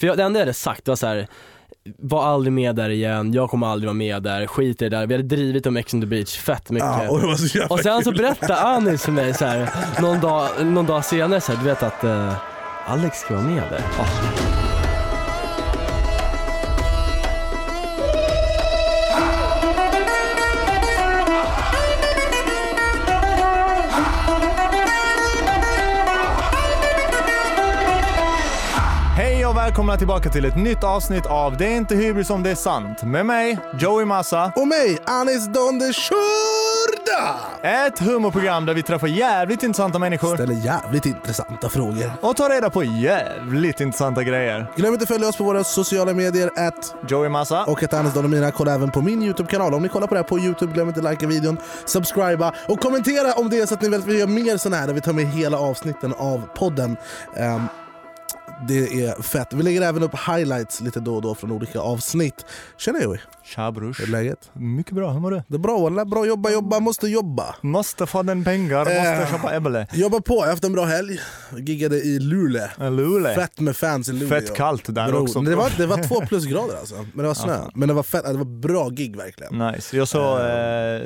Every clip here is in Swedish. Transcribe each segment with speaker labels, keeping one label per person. Speaker 1: För jag, det enda jag hade sagt var så här. Var aldrig med där igen, jag kommer aldrig vara med där, skit i det där. Vi hade drivit om Ex on the beach fett mycket.
Speaker 2: Ja, och det var så jävla
Speaker 1: Och sen så
Speaker 2: kul.
Speaker 1: berättade Anis för mig så här, någon, dag, någon dag senare så här, du vet att eh, Alex ska vara med där. Ja.
Speaker 3: Hej och välkomna tillbaka till ett nytt avsnitt av Det är inte hybris om det är sant. Med mig, Joey Massa.
Speaker 2: Och mig, Anis Don de Shurda!
Speaker 3: Ett humorprogram där vi träffar jävligt intressanta människor
Speaker 2: Ställer jävligt intressanta frågor.
Speaker 3: och tar reda på jävligt intressanta grejer.
Speaker 2: Glöm inte att följa oss på våra sociala medier att
Speaker 3: Joey Massa.
Speaker 2: och att Anis Don och mina. Kolla även på min YouTube-kanal. Om ni kollar på det här på YouTube, glöm inte att likea videon, subscriba och kommentera om det är så att ni vill att vi gör mer sådana här där vi tar med hela avsnitten av podden. Ehm, det är fett. Vi lägger även upp highlights lite då och då från olika avsnitt. Tjena Joey,
Speaker 3: Tja brors.
Speaker 2: hur är läget?
Speaker 3: Mycket bra, hur mår du?
Speaker 2: Det är bra wallah, bra jobba, jobba, måste jobba.
Speaker 3: Måste få den pengar,
Speaker 2: Eh.
Speaker 3: måste köpa Ebbele.
Speaker 2: Jobba på, jag har haft en bra helg. Giggade i Luleå.
Speaker 3: Luleå.
Speaker 2: Fett med fans i Luleå.
Speaker 3: Eh, Fett kallt där
Speaker 2: Bro,
Speaker 3: också.
Speaker 2: Det var, det var två plusgrader alltså, men det var snö. Men det var, fett, det var bra gig verkligen.
Speaker 3: Nice. Jag såg, eh,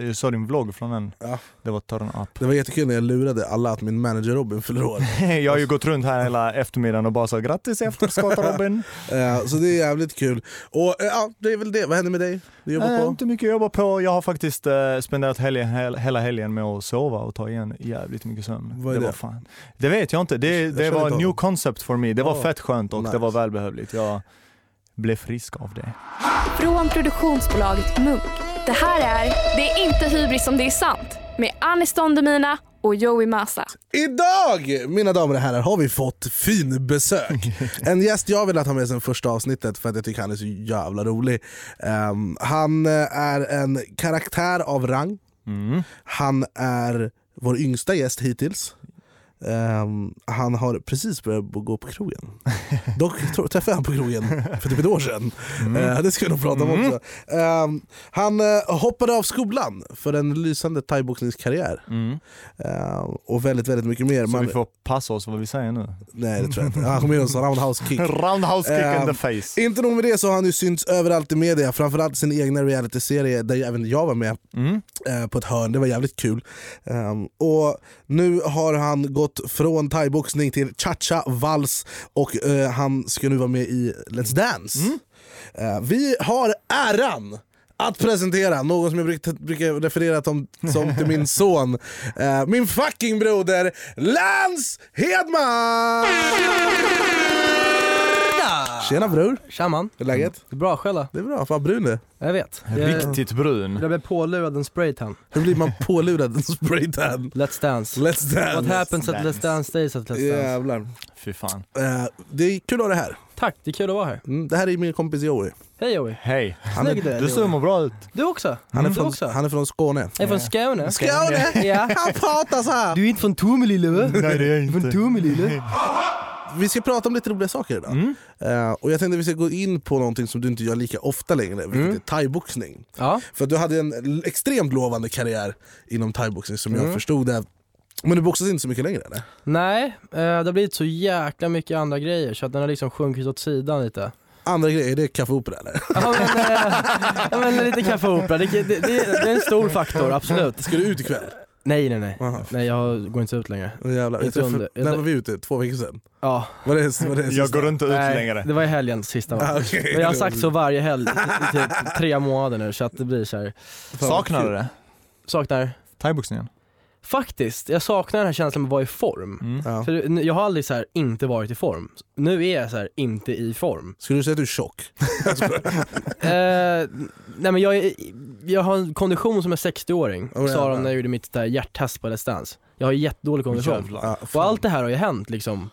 Speaker 3: jag såg din vlogg från den.
Speaker 2: Ja.
Speaker 3: Det var turn up.
Speaker 2: Det var jättekul när jag lurade alla att min manager Robin fyller år.
Speaker 3: Jag har ju gått runt här hela eftermiddagen och bara sagt grattis i efterskott Robin.
Speaker 2: Eh, så det är jävligt kul. Och eh, ja, det är väl det. Vad händer med dig? Du jobbar
Speaker 3: Nej,
Speaker 2: på?
Speaker 3: inte mycket att jobba på. Jag har faktiskt eh, spenderat helgen, hel, hela helgen med att sova och ta igen jävligt mycket sömn.
Speaker 2: Vad är det?
Speaker 3: Var fan. det vet jag inte. Det, det
Speaker 2: känner
Speaker 3: var
Speaker 2: inte
Speaker 3: new
Speaker 2: honom.
Speaker 3: concept for me. Det var
Speaker 2: Ah,
Speaker 3: fett skönt och
Speaker 2: nice.
Speaker 3: det var välbehövligt. Jag blev frisk av det.
Speaker 4: Från produktionsbolaget Munk. Det här är Det är inte hybris om det är sant med Anis Don Demina och Joey Massa.
Speaker 2: Idag, mina damer och herrar, har vi fått fin besök. En gäst jag vill att ha med sen första avsnittet för att jag tycker han är så jävla rolig. Ehm, han eh, är en karaktär av rang. Han är vår yngsta gäst hittills. Ehm, han har precis börjat b- gå på krogen. Dock tro- träffade jag han på krogen för typ ett år sedan.
Speaker 3: Mm.
Speaker 2: Eh, det ska vi nog prata om också. Ehm, han eh, hoppade av skolan för en lysande thaiboxningskarriär. Eh, och väldigt, väldigt mycket mer.
Speaker 3: Så
Speaker 2: Man,
Speaker 3: Mm. vi får passa oss vad vi säger nu.
Speaker 2: Nej det tror jag inte. Han kommer göra en sån roundhouse kick.
Speaker 3: Roundhouse kick in the
Speaker 2: Ehm,
Speaker 3: face.
Speaker 2: Inte nog med det så har han ju synts överallt i media, framförallt sin egna realityserie där ju även jag var med eh, på ett hörn, det var jävligt kul. Ehm, och nu har han gått från thaiboxning till cha-cha, vals och eh, han ska nu vara med i Let's Dance. Eh, vi har äran att presentera någon som jag bruk, brukar referera tom, som till min son, eh, min fucking broder Lance Hedman! Tjena bror!
Speaker 1: Tja man.
Speaker 2: Hur är läget?
Speaker 1: Det är bra själv då?
Speaker 2: Det är bra, fan brun du.
Speaker 1: Jag vet. Jag,
Speaker 3: Riktigt brun.
Speaker 1: jag blev pålurad en spraytan.
Speaker 2: Hur blir man pålurad en spraytan?
Speaker 1: Let's dance.
Speaker 2: Let's
Speaker 1: What
Speaker 2: dance!
Speaker 1: happens at Let's Dance Days at Let's Dance.
Speaker 2: Jävlar.
Speaker 3: Fy fan.
Speaker 2: Eh, det är kul att ha det här.
Speaker 1: Tack, det är kul att vara här.
Speaker 2: Mm, det här är min kompis Joey.
Speaker 1: Hej Joey.
Speaker 3: Hej.
Speaker 2: Han är,
Speaker 1: Snygg du är
Speaker 3: Du ser
Speaker 1: Joey.
Speaker 3: mår bra ut.
Speaker 1: Du också.
Speaker 2: han är,
Speaker 1: du
Speaker 2: från,
Speaker 1: också.
Speaker 2: han är från Skåne.
Speaker 1: Jag är från Skåne.
Speaker 2: Skåne!
Speaker 1: Ja.
Speaker 2: Han pratar så här.
Speaker 1: Du är inte från Tomelille va?
Speaker 3: Nej det är jag
Speaker 1: Från Tomelille?
Speaker 2: Vi ska prata om lite roliga saker idag. Eh, och jag tänkte vi ska gå in på någonting som du inte gör lika ofta längre, vilket är thaiboxning.
Speaker 1: Ja.
Speaker 2: För du hade en l- extremt lovande karriär inom thaiboxning som jag förstod det. Men du boxas inte så mycket längre eller?
Speaker 1: Nej, eh, det har blivit så jäkla mycket andra grejer så att den har liksom sjunkit åt sidan lite.
Speaker 2: Andra grejer, är det kaffeopera eller?
Speaker 1: Ja men, eh, ja, men lite kaffe och opera, det, det, det, det är en stor faktor, absolut.
Speaker 2: Ska du ut ikväll?
Speaker 1: Nej nej nej,
Speaker 2: Aha.
Speaker 1: nej jag går inte ut längre.
Speaker 2: Åh, jävlar.
Speaker 1: Inte
Speaker 2: Jag träffade,
Speaker 1: under- jag
Speaker 2: när
Speaker 1: träff-
Speaker 2: var vi ute? Två veckor sedan?
Speaker 1: Ja,
Speaker 2: Var det, var det
Speaker 3: Jag går inte ut
Speaker 1: nej,
Speaker 3: längre.
Speaker 1: det var i helgen sista
Speaker 2: Ah,
Speaker 1: va?
Speaker 2: okej.
Speaker 1: Men jag har sagt så varje helg i typ tre månader nu så att det blir så här.
Speaker 3: Saknar du det?
Speaker 1: saknar,
Speaker 3: Thaiboxningen?
Speaker 1: faktiskt, jag saknar den här känslan med att vara i form.
Speaker 3: Mm.
Speaker 2: Ja.
Speaker 1: För nu- jag har aldrig så här inte varit i form. Nu är jag så här inte i form.
Speaker 2: Skulle du säga att du är tjock?
Speaker 1: Eh, nej men jag, är, jag har en kondition som en 60-åring, sa
Speaker 2: Oh, jävlar.
Speaker 1: de när jag gjorde mitt där hjärttest på Let's Dance. Jag har jättedålig kondition.
Speaker 3: Jävlar.
Speaker 2: Ja, fan.
Speaker 1: Och allt det här har ju hänt liksom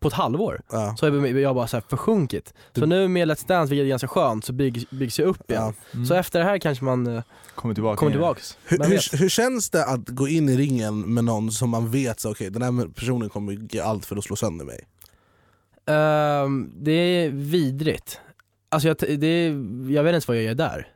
Speaker 1: på ett halvår.
Speaker 2: Ja.
Speaker 1: Så har jag, jag har bara så här försjunkit. Så nu med Let's Dance, vilket är ganska skönt, så byggs, byggs jag upp igen. Så efter det här kanske man eh,
Speaker 3: Kommer tillbaka.
Speaker 1: kommer
Speaker 3: igen.
Speaker 1: tillbaks.
Speaker 2: Mm. Hur,
Speaker 1: Vem vet?
Speaker 2: hur, hur känns det att gå in i ringen med någon som man vet så, okay, den här personen kommer ge allt för att slå sönder mig?
Speaker 1: Ehm, det är vidrigt. Alltså jag, t- det är, jag vet inte ens vad jag gör där.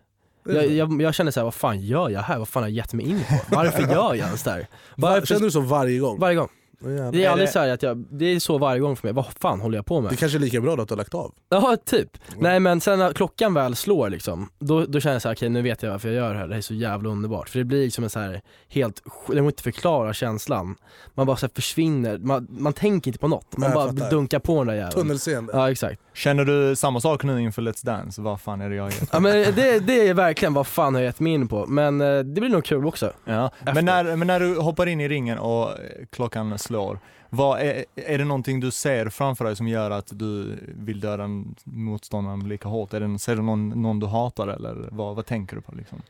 Speaker 1: Jag, jag, jag känner såhär, vad fan gör jag här? Vad fan har jag gett mig in på? Varför gör jag ens där?
Speaker 2: Var,
Speaker 1: Varför,
Speaker 2: känner du så varje gång?
Speaker 1: varje gång.
Speaker 2: Åh, jävlar.
Speaker 1: Det är,
Speaker 3: Är
Speaker 1: aldrig
Speaker 3: det-
Speaker 1: så här att jag, det är så varje gång för mig, vad fan håller jag på med?
Speaker 2: Det kanske är lika bra då att du har lagt av.
Speaker 1: Ja, typ. Nej men sen när klockan väl slår liksom, då, då känner jag så här, okej nu vet jag varför jag gör det här, det här är så jävla underbart. För det blir liksom en så här helt, sj- det går inte att förklara känslan. Man bara så här försvinner, man, man tänker inte på något, man
Speaker 2: Nej, jag
Speaker 1: bara
Speaker 2: fattar.
Speaker 1: dunkar på den där jäveln.
Speaker 2: Tunnelseende.
Speaker 1: Ja exakt.
Speaker 3: Känner du samma sak nu inför Let's Dance? Vad fan är det jag gör?
Speaker 1: Ja men det, det är verkligen vad fan har jag gett mig in på, men eh, det blir nog kul också.
Speaker 3: Ja. Men, när, men när du hoppar in i ringen och eh, klockan slår, vad är, är det någonting du ser framför dig som gör att du vill döda en- motståndaren lika hårt? Är det, ser du någon, någon du hatar eller vad, vad tänker du på? Liksom?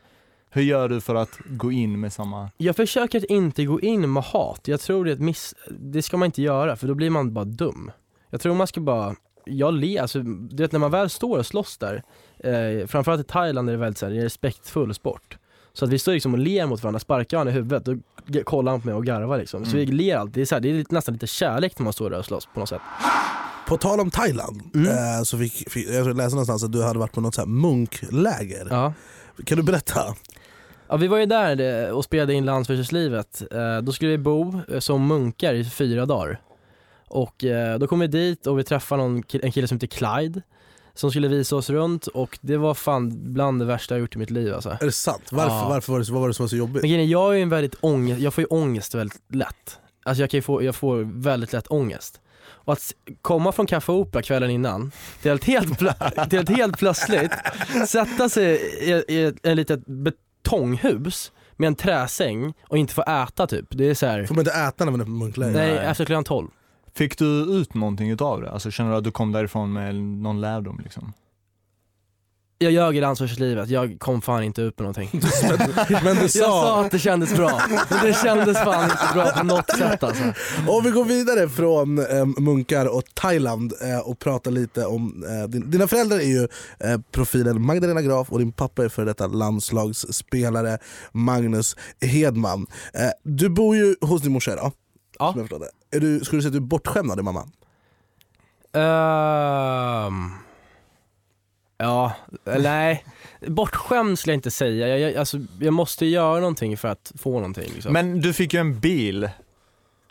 Speaker 3: Hur gör du för att gå in med samma...
Speaker 1: Jag försöker att inte gå in med hat, jag tror det är ett miss, det ska man inte göra för då blir man bara dum. Jag tror man ska bara, jag le, alltså du vet när man väl står och slåss där, eh, framförallt i Thailand är det väldigt så här, det är en respektfull sport. Så att vi står liksom och ler mot varandra, sparkar han i huvudet, då g- kollar han på mig och garvar liksom. Så
Speaker 3: Mm.
Speaker 1: vi ler alltid, det är, så här, det är lite- nästan lite kärlek när man står där och slåss på något sätt.
Speaker 2: På tal om Thailand,
Speaker 1: Mm.
Speaker 2: eh, så fick, fick, jag läste någonstans att du hade varit på något så här munkläger.
Speaker 1: Ja.
Speaker 2: Kan du berätta?
Speaker 1: Ja, vi var ju där eh, och spelade in Landsbygdslivet. Eh, Då skulle vi bo eh, som munkar i fyra dagar. Och eh, då kom vi dit och vi träffade någon, ki- en kille som heter Clyde som skulle visa oss runt och det var fan bland det värsta jag gjort i mitt liv alltså.
Speaker 2: Är det sant? Varför,
Speaker 1: Ja.
Speaker 2: varför var det, så- vad var det som var så jobbigt?
Speaker 1: Men grejen är, jag är ju en väldigt ångest, jag får ju ångest väldigt lätt. Alltså jag, kan ju få, jag får väldigt lätt ångest. Och att s- komma från Café Opera kvällen innan till att helt, pla- till att helt plötsligt sätta sig i, i ett en litet betonghus med en träsäng och inte få äta typ. Det är så här.
Speaker 2: Får man inte äta när man är på munkläger?
Speaker 1: nej
Speaker 3: nej.
Speaker 1: efter klockan 12.
Speaker 3: Fick du ut någonting utav det? Alltså, känner du att du kom därifrån med någon lärdom? Liksom?
Speaker 1: Jag ljög i dansförslivet, jag kom fan inte ut med någonting.
Speaker 2: Men du
Speaker 1: Jag
Speaker 2: sa,
Speaker 1: sa att det kändes bra, men det kändes fan inte bra på något sätt alltså.
Speaker 2: om vi går vidare från eh, munkar och Thailand eh, och pratar lite om, eh, din, dina föräldrar är ju eh, profilen Magdalena Graf och din pappa är för detta landslagsspelare Magnus Hedman. Eh, du bor ju hos din morsa idag,
Speaker 1: Ja.
Speaker 2: som jag förstår det. Är du, skulle du säga att du är bortskämd av din mamma?
Speaker 1: Ehm, ja, nej. Bortskämd skulle jag inte säga. Jag, jag, alltså, jag måste göra någonting för att få någonting. Liksom.
Speaker 3: Men du fick ju en bil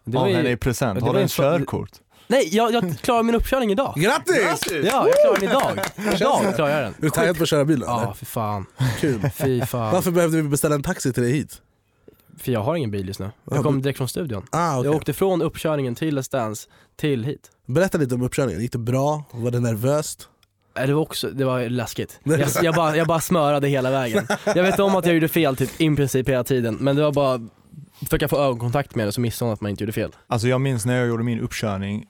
Speaker 1: det
Speaker 3: av
Speaker 1: var ju-
Speaker 3: henne i present.
Speaker 1: det
Speaker 3: Har
Speaker 1: var
Speaker 3: du
Speaker 1: ju
Speaker 3: en
Speaker 1: en så-
Speaker 3: körkort?
Speaker 1: Nej, jag, jag klarar min uppkörning idag.
Speaker 2: Grattis!
Speaker 1: Ja, jag klarar den idag. Idag klarar jag den.
Speaker 2: Är du taggad på att köra bilen?
Speaker 1: Ja,
Speaker 2: eller?
Speaker 1: för fan.
Speaker 2: Kul.
Speaker 1: Fy fan.
Speaker 2: Varför behövde vi beställa en taxi till dig hit?
Speaker 1: För jag har ingen bil just nu.
Speaker 2: Ja,
Speaker 1: Jag kom direkt från studion.
Speaker 2: Ah, okej.
Speaker 1: Jag åkte från uppkörningen till Let's Dance till hit.
Speaker 2: Berätta lite om uppkörningen, gick det bra? Var det nervöst?
Speaker 1: Nej, Äh, Det var också, det var läskigt. Jag, jag, bara, jag bara smörade hela vägen. Jag vet om att jag gjorde fel typ i princip hela tiden, men det var bara försöka få ögonkontakt med det så missade hon att man inte gjorde fel.
Speaker 3: Alltså jag minns när jag gjorde min uppkörning,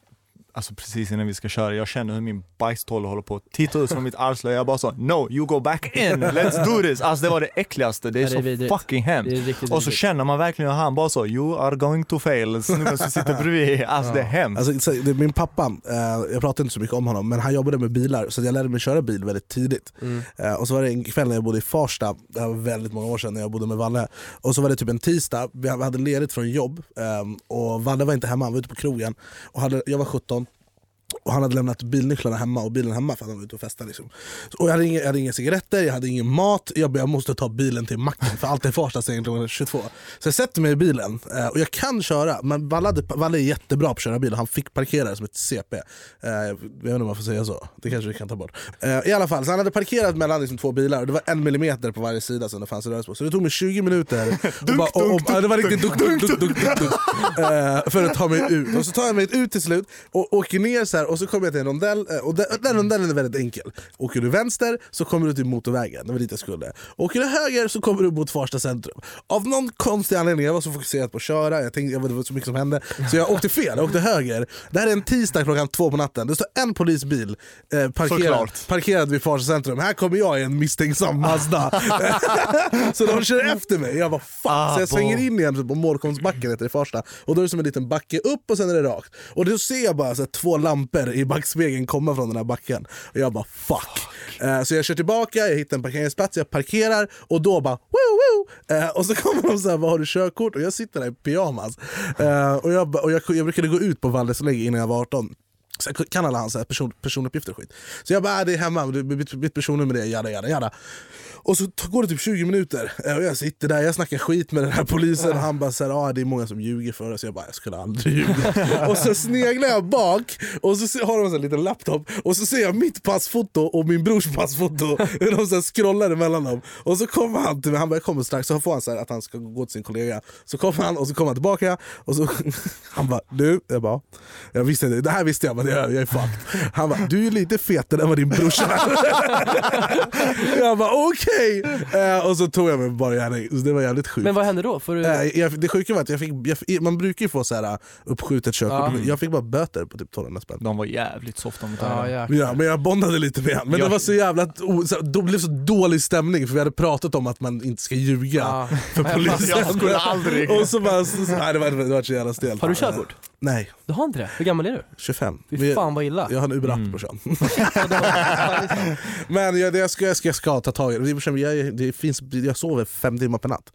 Speaker 3: alltså precis innan vi ska köra, jag känner hur min bajstolle håller på att titta ut från mitt arslöja. Jag bara sa no, you go back in, let's do this. Alltså det var det äckligaste, det är,
Speaker 1: Ja, det är vidrigt.
Speaker 3: så fucking
Speaker 1: Det är
Speaker 3: hemskt.
Speaker 1: riktigt
Speaker 3: Och så
Speaker 1: vidrigt.
Speaker 3: känner man verkligen hur han bara så, you are going to fail, snubben som sitter bredvid. Alltså det är hemskt.
Speaker 2: Alltså, så- det, min pappa, eh, jag pratade inte så mycket om honom, men han jobbade med bilar så jag lärde mig köra bil väldigt tidigt. Eh, och så var det en kväll när jag bodde i Farsta, det här var väldigt många år sedan när jag bodde med Valle. Och så var det typ en tisdag, vi hade ledigt från jobb ehm, och Valle var inte hemma, han var ute på krogen. Och hade, jag var 17 och han hade lämnat bilnycklarna hemma och bilen hemma för att han var ute och festade. Liksom. Så- Och jag, hade inga, jag hade inga cigaretter, jag hade ingen mat, jag, bara, jag måste ta bilen till macken för allt är Farsta stänger klockan 22. Så jag sätter mig i bilen eh, och jag kan köra, men Valle, hade, Valle är jättebra på att köra bil och han fick parkera som ett CP. Eh, jag vet inte om man får säga så, det kanske vi kan ta bort. Eh, I alla fall, så han hade parkerat mellan liksom, två bilar och det var en millimeter på varje sida som det fanns rörelse på. Så det tog mig 20 minuter, och bara, och, och, ja, det var riktigt dunk, dunk, dunk, dunk, dunk, dunk, eh, för att ta mig ut. Och så tar jag mig ut till slut och åker ner så här och så kommer jag till en rondell eh, och den, den rondellen är väldigt enkel. Åker du vänster så kommer du till motorvägen, det var dit jag skulle. Åker du höger så kommer du mot Farsta centrum. Av någon konstig anledning, jag var så fokuserad på att köra, jag tänkte jag vet, det var så mycket som hände, så jag åkte fel, jag åkte höger. Det här är en tisdag klockan två på natten, det står en polisbil eh, parkerad,
Speaker 3: Såklart.
Speaker 2: parkerad vid Farsta centrum. Här kommer jag i en misstänksam Mazda. så de kör efter mig, jag bara fuck. så jag svänger in igen typ på Mårkomsbacken heter det i Farsta. Och då är det som en liten backe upp och sen är det rakt. Och då ser jag bara så här, två lampor i backspegeln komma från den här backen. Och jag bara fuck. Eh, så jag kör tillbaka, jag hittar en parkeringsplats, jag parkerar och då bara woo, woo. Eh, Och så kommer de så här, vad har du körkort? Och jag sitter där i pyjamas. Eh, och jag, ba- och jag, jag brukade gå ut på Valles innan jag var 18. så jag kan alla hans så här person, personuppgifter och skit. Så jag bara, äh, det är hemma, du- mitt, mitt personnummer är jada jada jada. Och så t- går det typ 20 minuter eh, och jag sitter där, jag snackar skit med den här polisen och han bara såhär, ah, det är många som ljuger för oss. Jag bara, jag skulle aldrig ljuga. och så sneglar jag bak och så se- har de en sån här liten laptop och så ser jag mitt passfoto och min brors passfoto. Hur de så här scrollar emellan dem. Och så kommer han till mig, han bara, jag kommer strax. Så får han så här att han ska gå till sin kollega. Så kommer han och så kommer han tillbaka och så han bara, du, jag bara, jag visste inte, det här visste jag men jag, jag är fucked. Han bara, du är lite fetare än vad din brorsa är. Jag bara okej! Eh, och så tog jag mig bara gärning. Så Det var jävligt sjukt.
Speaker 1: Men vad hände då? Får du...
Speaker 3: Äh,
Speaker 2: Eh, jag, det sjuka var att jag fick, jag, fick- man brukar ju få så här, eh, uppskjutet körkort.
Speaker 1: Ja. Mm.
Speaker 2: Jag fick bara böter på typ 1200 spänn.
Speaker 3: De var jävligt softa mot det
Speaker 1: ja,
Speaker 3: här.
Speaker 1: jäklar.
Speaker 2: Ja, men jag bondade lite med han. Men
Speaker 3: Jag-
Speaker 2: det var så jävla... o- Så, då blev det så dålig stämning för vi hade pratat om att man inte ska ljuga
Speaker 1: Ja.
Speaker 2: för polisen.
Speaker 3: Jag skulle aldrig...
Speaker 2: Och så bara... Så, så, nej, det var, det var så jävla stelt.
Speaker 1: Har du körkort?
Speaker 2: Nej,
Speaker 1: Du har inte det? Hur gammal är du?
Speaker 2: 25.
Speaker 1: Fy
Speaker 2: Vi-
Speaker 1: fan vad illa.
Speaker 2: Jag har en Uber-app
Speaker 3: Mm.
Speaker 2: på kön.
Speaker 1: liksom-
Speaker 2: Men jag, det jag, ska, jag, ska, jag ska ta tag i det. det. är bekymmer, Jag, det finns, jag sover fem timmar per natt.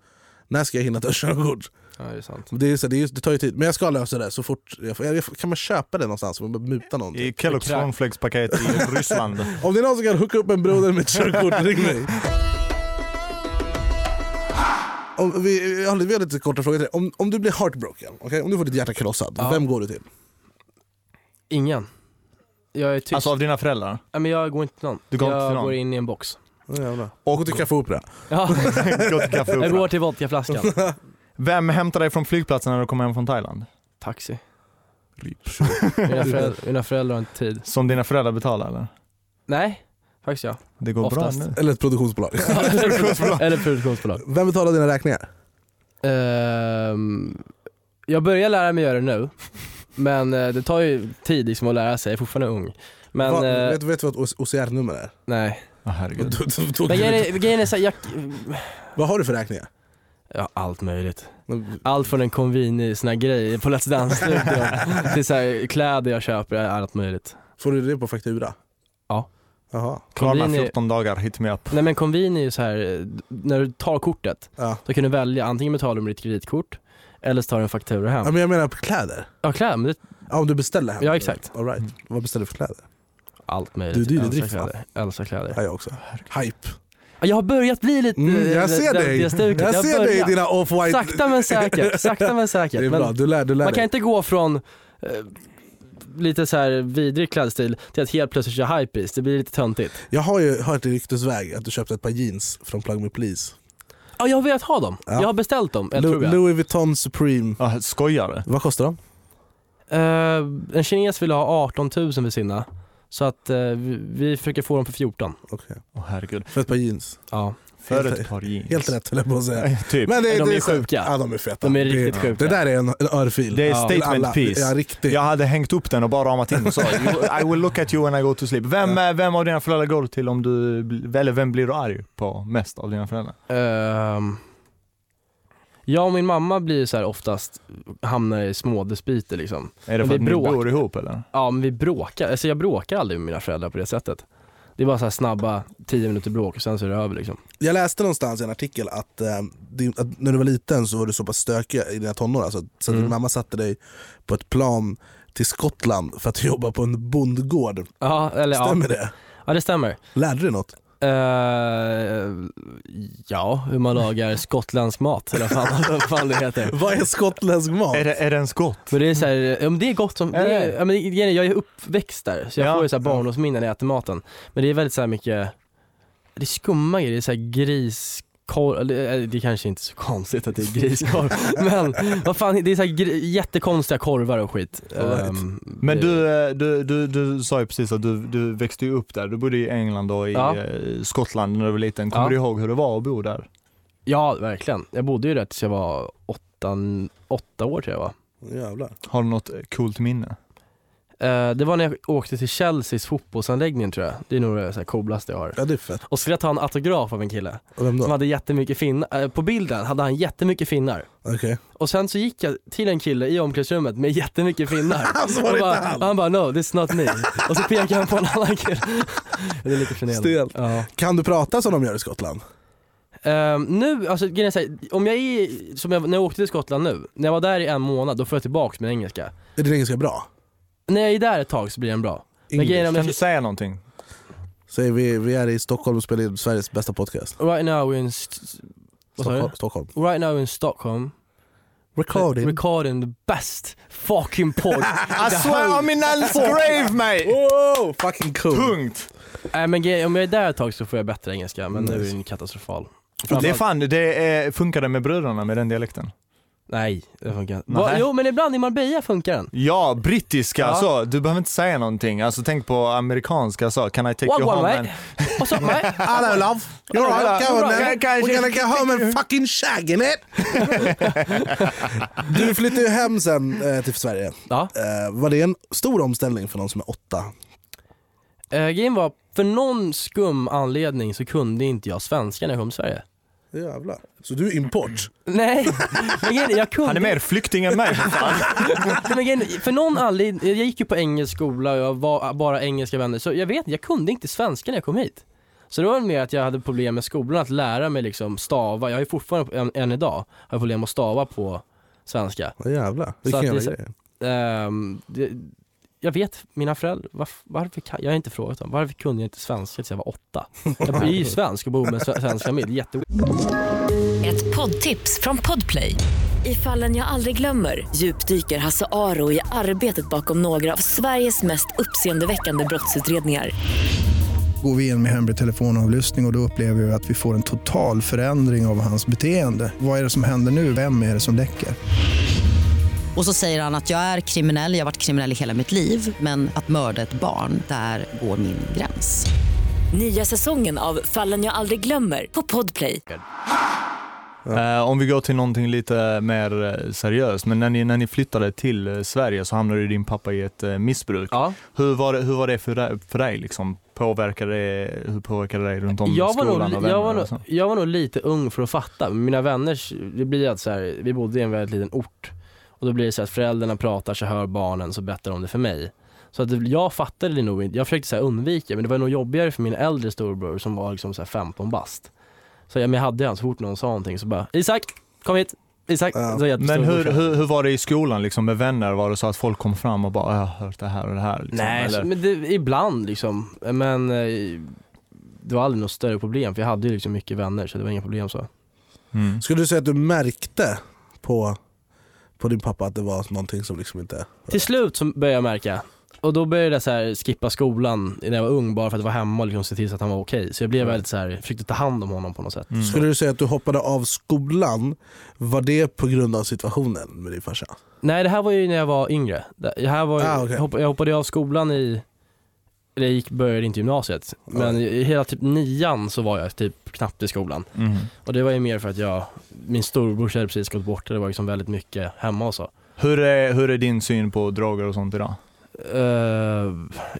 Speaker 2: När ska jag hinna ta körkort?
Speaker 1: Ja, det är sant.
Speaker 2: Det, är, så- det, är, det tar ju tid, men jag ska lösa det så fort jag får. Jag, kan man köpa det någonstans? Man behöver muta någon.
Speaker 3: I Kelloggs
Speaker 1: Krak.
Speaker 3: cornflakespaket i Ryssland.
Speaker 2: Om det är någon som kan hooka upp en broder med ett körkort, ring mig. Om vi, jag har lite- vi har lite korta frågor till dig. Om, om du blir heartbroken, okej? om du får ditt hjärta krossat,
Speaker 1: Ja.
Speaker 2: vem går du till?
Speaker 1: Ingen. Jag är tyst.
Speaker 3: Alltså av dina föräldrar.
Speaker 1: Nej, men jag går inte till någon.
Speaker 3: Du går
Speaker 1: jag
Speaker 3: inte till någon?
Speaker 1: går in i en box.
Speaker 2: Och till Café Opera.
Speaker 1: Ja,
Speaker 3: Gå till Café
Speaker 1: jag
Speaker 3: Opera.
Speaker 1: går till vodkaflaskan.
Speaker 3: Vem hämtar dig från flygplatsen när du kommer hem från Thailand?
Speaker 1: Taxi. Mina föräldrar, mina föräldrar har inte tid.
Speaker 3: Som dina föräldrar betalar eller?
Speaker 1: Nej, faktiskt jag.
Speaker 3: Det går
Speaker 1: Oftast.
Speaker 3: bra nu.
Speaker 2: Eller ett produktionsbolag.
Speaker 1: Eller produktionsbolag.
Speaker 2: Vem betalar dina räkningar?
Speaker 1: Ehm, jag börjar lära mig göra det nu, men eh, det tar ju tid liksom att lära sig, jag är fortfarande ung. Men,
Speaker 2: Vad-
Speaker 1: eh,
Speaker 2: vet, vet du vad ett OCR-nummer är?
Speaker 1: nej.
Speaker 2: Då-
Speaker 3: Åh, herregud.
Speaker 2: då- då-
Speaker 1: Men grejen är, grejen är så här, jag,
Speaker 2: Vad har du för räkningar?
Speaker 1: ja, allt möjligt.
Speaker 2: Men-
Speaker 1: Allt från en konvini, såna här grejer på Let's Dance-studion, till så här, kläder jag köper, allt möjligt.
Speaker 2: Får du det på faktura?
Speaker 1: Ja.
Speaker 2: Jaha.
Speaker 3: Klarna
Speaker 1: Konvini-
Speaker 3: 14 dagar, hit me up.
Speaker 1: Nej men konvini är ju så här eh, när du tar kortet,
Speaker 2: Ja.
Speaker 1: då kan du välja antingen betala med ditt kreditkort, eller så tar du en faktura
Speaker 2: Ja,
Speaker 1: hem.
Speaker 2: men jag menar på kläder.
Speaker 1: Ja, kläder, men det,
Speaker 2: Ja, om du beställer hem.
Speaker 1: Ja, exakt.
Speaker 2: All right. Vad beställer du för kläder?
Speaker 1: allt möjligt.
Speaker 2: Du är dyr i
Speaker 1: Älskar
Speaker 2: drift, va?
Speaker 1: kläder. Älskar kläder.
Speaker 2: Ja, jag också. Hype.
Speaker 1: Ja, Jag har börjat bli lite...
Speaker 2: Mm,
Speaker 1: eh,
Speaker 2: jag ser
Speaker 1: det-
Speaker 2: dig!
Speaker 1: det stuket.
Speaker 2: Jag
Speaker 1: har
Speaker 2: ser dig i
Speaker 1: börjat.
Speaker 2: dina off-white...
Speaker 1: Sakta men säkert, sakta men
Speaker 2: Det
Speaker 1: säkert.
Speaker 2: är bra,
Speaker 1: men
Speaker 2: du lär, du lär
Speaker 1: man kan
Speaker 2: dig.
Speaker 1: inte gå från eh, lite så här vidrig klädstil till att helt plötsligt köra hypebeast, det blir lite töntigt.
Speaker 2: Jag har ju hört i ryktesväg att du köpte ett par jeans från Plug Me Please.
Speaker 1: Ja, jag har velat ha dem.
Speaker 2: Ja.
Speaker 1: Jag har beställt dem, eller tror
Speaker 2: Lu-
Speaker 1: jag.
Speaker 2: Louis Vuitton Supreme.
Speaker 3: Ah, skojar du?
Speaker 2: Vad kostar de?
Speaker 1: Eh, en kines ville ha 18 000 för sina, så att eh, vi, vi försöker få dem för 14.
Speaker 2: Okej.
Speaker 3: Åh herregud.
Speaker 2: För ett par jeans.
Speaker 1: Ja.
Speaker 3: För
Speaker 2: Helt-
Speaker 3: ett par jeans.
Speaker 2: Helt rätt höll jag på att säga.
Speaker 3: Eh, Typ.
Speaker 2: Men det,
Speaker 1: de
Speaker 2: det
Speaker 1: är
Speaker 2: så-
Speaker 1: sjuka.
Speaker 2: Ja, de är feta.
Speaker 1: De är riktigt
Speaker 2: det,
Speaker 1: sjuka.
Speaker 2: Det där är en, en örfil.
Speaker 3: Det är
Speaker 1: Ja.
Speaker 2: Till
Speaker 3: statement
Speaker 2: alla.
Speaker 3: piece.
Speaker 2: Ja, riktigt.
Speaker 3: Jag hade hängt upp den och bara ramat in och sa "You- I will look at you when I go to sleep. Vem, eh, vem av dina föräldrar går du till om du, bl- eller vem blir du arg på mest av dina föräldrar?
Speaker 1: Ehm, jag och min mamma blir ju så här oftast, hamnar i små dispyter liksom.
Speaker 3: Är det
Speaker 1: Men
Speaker 3: för
Speaker 1: det
Speaker 3: att ni
Speaker 1: bråk.
Speaker 3: bor ihop eller?
Speaker 1: Ja men vi bråkar, alltså jag bråkar aldrig med mina föräldrar på det sättet. Det är bara så här snabba 10 minuter bråk och sen så är det över liksom.
Speaker 2: Jag läste någonstans i en artikel att, eh, din, att när du var liten så var du så pass stökig i dina tonår alltså, så att din
Speaker 1: Mm.
Speaker 2: mamma satte dig på ett plan till Skottland för att jobba på en bondgård.
Speaker 1: Ja, eller ja.
Speaker 2: Stämmer det?
Speaker 1: ja det stämmer.
Speaker 2: Lärde du dig något?
Speaker 1: Eh, ja, hur man lagar skottländsk mat eller vad fan, vad fan det heter.
Speaker 2: Vad är skottländsk mat?
Speaker 3: Är det, är det en skott?
Speaker 1: Men det är så här, ja, men det är gott som, det
Speaker 3: Är
Speaker 1: är,
Speaker 3: det?
Speaker 1: ja, men grejen är, jag är uppväxt där så jag
Speaker 3: Ja.
Speaker 1: får ju så här barndomsminnen när jag äter maten. Men det är väldigt så här mycket, det är skumma grejer, det är så här gris Korv, eller, eh, det kanske inte är så konstigt att det är griskorv, men vad fan, det är så här gri- jättekonstiga korvar och skit.
Speaker 2: All right.
Speaker 1: Ehm,
Speaker 3: Men
Speaker 1: det-
Speaker 3: du, eh, du, du, du sa ju precis att du, du växte ju upp där. Du bodde i England och i
Speaker 1: Ja.
Speaker 3: eh, Skottland när du var liten. Kommer
Speaker 1: Ja.
Speaker 3: du ihåg hur det var att bo där?
Speaker 1: Ja, verkligen. Jag bodde ju där tills jag var åtta, åtta år tror jag var.
Speaker 2: Jävlar.
Speaker 3: Har du något eh, coolt minne?
Speaker 1: Eh, Det var när jag åkte till Chelseas fotbollsanläggning tror jag. Det är nog det så här coolaste jag har.
Speaker 2: Ja det är fett.
Speaker 1: Och skulle jag ta en autograf av en kille
Speaker 2: Och Vem
Speaker 1: som
Speaker 2: då?
Speaker 1: hade jättemycket finnar. eh, På bilden hade han jättemycket finnar.
Speaker 2: Okej.
Speaker 1: Och sen så gick jag till en kille i omklädningsrummet med jättemycket finnar.
Speaker 2: Alltså var
Speaker 1: Och
Speaker 2: det
Speaker 1: bara,
Speaker 2: inte han?
Speaker 1: han bara no, this is not me. Och så pekade han på en annan kille. Det är lite generande.
Speaker 2: Stelt.
Speaker 1: Ja.
Speaker 2: Kan du prata som de gör i Skottland?
Speaker 1: Ehm, nu, alltså grejen är så här, om jag är, som jag, när jag åkte till Skottland nu, när jag var där i en månad, då får jag tillbaka min engelska.
Speaker 2: Är din engelska bra?
Speaker 1: när jag är där ett tag så blir den bra. Men
Speaker 2: English.
Speaker 1: grejen är om
Speaker 3: Kan du
Speaker 1: jag,
Speaker 3: säga någonting?
Speaker 2: Säg, vi, vi är i Stockholm och spelar in Sveriges bästa podcast.
Speaker 1: right now in, st- vad sa du?
Speaker 2: Stockholm. Stockholm.
Speaker 1: Right now in Stockholm,
Speaker 2: Recording.
Speaker 1: recording the best fucking pod.
Speaker 3: I swear I'm in Alice grave mate!
Speaker 2: Wow, fucking cool.
Speaker 3: Punkt!
Speaker 1: Nej men grejen- om jag är där ett tag så får jag bättre engelska, men nu är
Speaker 2: Nice.
Speaker 1: den katastrofal.
Speaker 3: Det är fan, det är, funkade med bröderna med den dialekten.
Speaker 1: Nej, det funkar inte.
Speaker 3: Nej.
Speaker 1: Va- Jo men ibland i Marbella funkar den.
Speaker 3: Ja, brittiska
Speaker 1: Ja.
Speaker 3: så. Du behöver inte säga någonting. Alltså tänk på amerikanska så. Can I take
Speaker 1: What
Speaker 3: you
Speaker 1: one
Speaker 3: home?
Speaker 1: way?
Speaker 3: man?
Speaker 1: What's up mate?
Speaker 2: Hello love, you're
Speaker 1: Hello,
Speaker 2: right, go on
Speaker 1: hello.
Speaker 2: then.
Speaker 3: Can- can-
Speaker 2: We're gonna go home and fucking shag in it. du flyttade ju hem sen eh, till Sverige.
Speaker 1: Ja.
Speaker 2: Eh, var det en stor omställning för någon som är åtta?
Speaker 1: Eh, grejen var, för någon skum anledning så kunde inte jag svenska när jag kom till Sverige.
Speaker 2: Jävlar. Så du är import?
Speaker 1: Nej, men grejen, är, jag kunde
Speaker 3: Han är mer flykting än mig.
Speaker 1: Nej, men grejen är, för någon anledning, jag gick ju på engelsk skola och jag var bara engelska vänner, så jag vet inte, jag kunde inte svenska när jag kom hit. Så det var mer att jag hade problem med skolan, att lära mig liksom stava, jag har ju fortfarande, än, än idag, har jag problem att stava på svenska.
Speaker 2: Ja, jävlar, vilken
Speaker 1: att det
Speaker 2: jävla
Speaker 1: är så-
Speaker 2: grej.
Speaker 1: Ehm, det, jag vet, mina föräldrar, varf, varför kan, jag har inte frågat dem, varför kunde jag inte svenska tills jag var åtta? Jag är ju svensk och bor med en sve- svensk familj, jätte
Speaker 5: Ett poddtips från Podplay. I fallen jag aldrig glömmer djupdyker Hasse Aro i arbetet bakom några av Sveriges mest uppseendeväckande brottsutredningar.
Speaker 6: går vi in med hemlig telefonavlyssning och, och då upplever vi att vi får en total förändring av hans beteende. Vad är det som händer nu? Vem är det som läcker?
Speaker 7: Och så säger han att jag är kriminell, jag har varit kriminell i hela mitt liv men att mörda ett barn, där går min gräns.
Speaker 5: Nya säsongen av Fallen jag aldrig glömmer på Podplay.
Speaker 3: Eh, om vi går till någonting lite mer eh, seriöst. Men när ni, när ni flyttade till eh, Sverige så hamnade ju din pappa i ett eh, missbruk.
Speaker 1: Ja.
Speaker 3: Hur, var det, hur var det för dig? För dig liksom? påverkade det, hur påverkade det dig runt om
Speaker 1: jag var,
Speaker 3: skolan
Speaker 1: nog,
Speaker 3: och vänner
Speaker 1: jag, var nog,
Speaker 3: och så?
Speaker 1: jag var nog lite ung för att fatta. Mina vänners, det blir att så här, vi bodde i en väldigt liten ort och då blir det så att föräldrarna pratar, så hör barnen, så berättar de det för mig. Så att det- jag fattade det nog inte, jag försökte så här undvika men det var nog jobbigare för min äldre storbror som var liksom så här 15 bast. Så jag, men jag hade ju han så fort någon sa någonting så bara Isak, kom hit! Isak!
Speaker 2: Ja.
Speaker 1: Så jag-
Speaker 3: Men hur, hur, hur var det i skolan liksom, med vänner? Var det så att folk kom fram och bara “jag har hört det här och det här”? Liksom,
Speaker 1: Nej, alltså,
Speaker 3: eller?
Speaker 1: så, men det, ibland liksom. Men eh, det var aldrig något större problem för jag hade ju liksom mycket vänner så det var inga problem så.
Speaker 3: Mm.
Speaker 2: Skulle du säga att du märkte på, på din pappa att det var någonting som liksom inte...
Speaker 1: Till slut så började jag märka och då började jag så här skippa skolan när jag var ung bara för att vara hemma och liksom se till så att han var okej. Så jag
Speaker 2: Mm.
Speaker 1: blev väldigt så här, försökte ta hand om honom på något sätt.
Speaker 2: Skulle du säga att du hoppade av skolan, var det på grund av situationen med din farsa?
Speaker 1: Nej det här var ju när jag var yngre. Det här var ju,
Speaker 2: Ah, okej.
Speaker 1: jag, hoppade, jag hoppade av skolan i, eller jag gick, började inte gymnasiet. Men i hela typ nian så var jag typ knappt i skolan.
Speaker 3: Mm.
Speaker 1: Och det var ju mer för att jag, min storbror hade precis gått bort och det var liksom väldigt mycket hemma och så.
Speaker 3: Hur, är, hur är din syn på droger och sånt idag?
Speaker 1: Eh,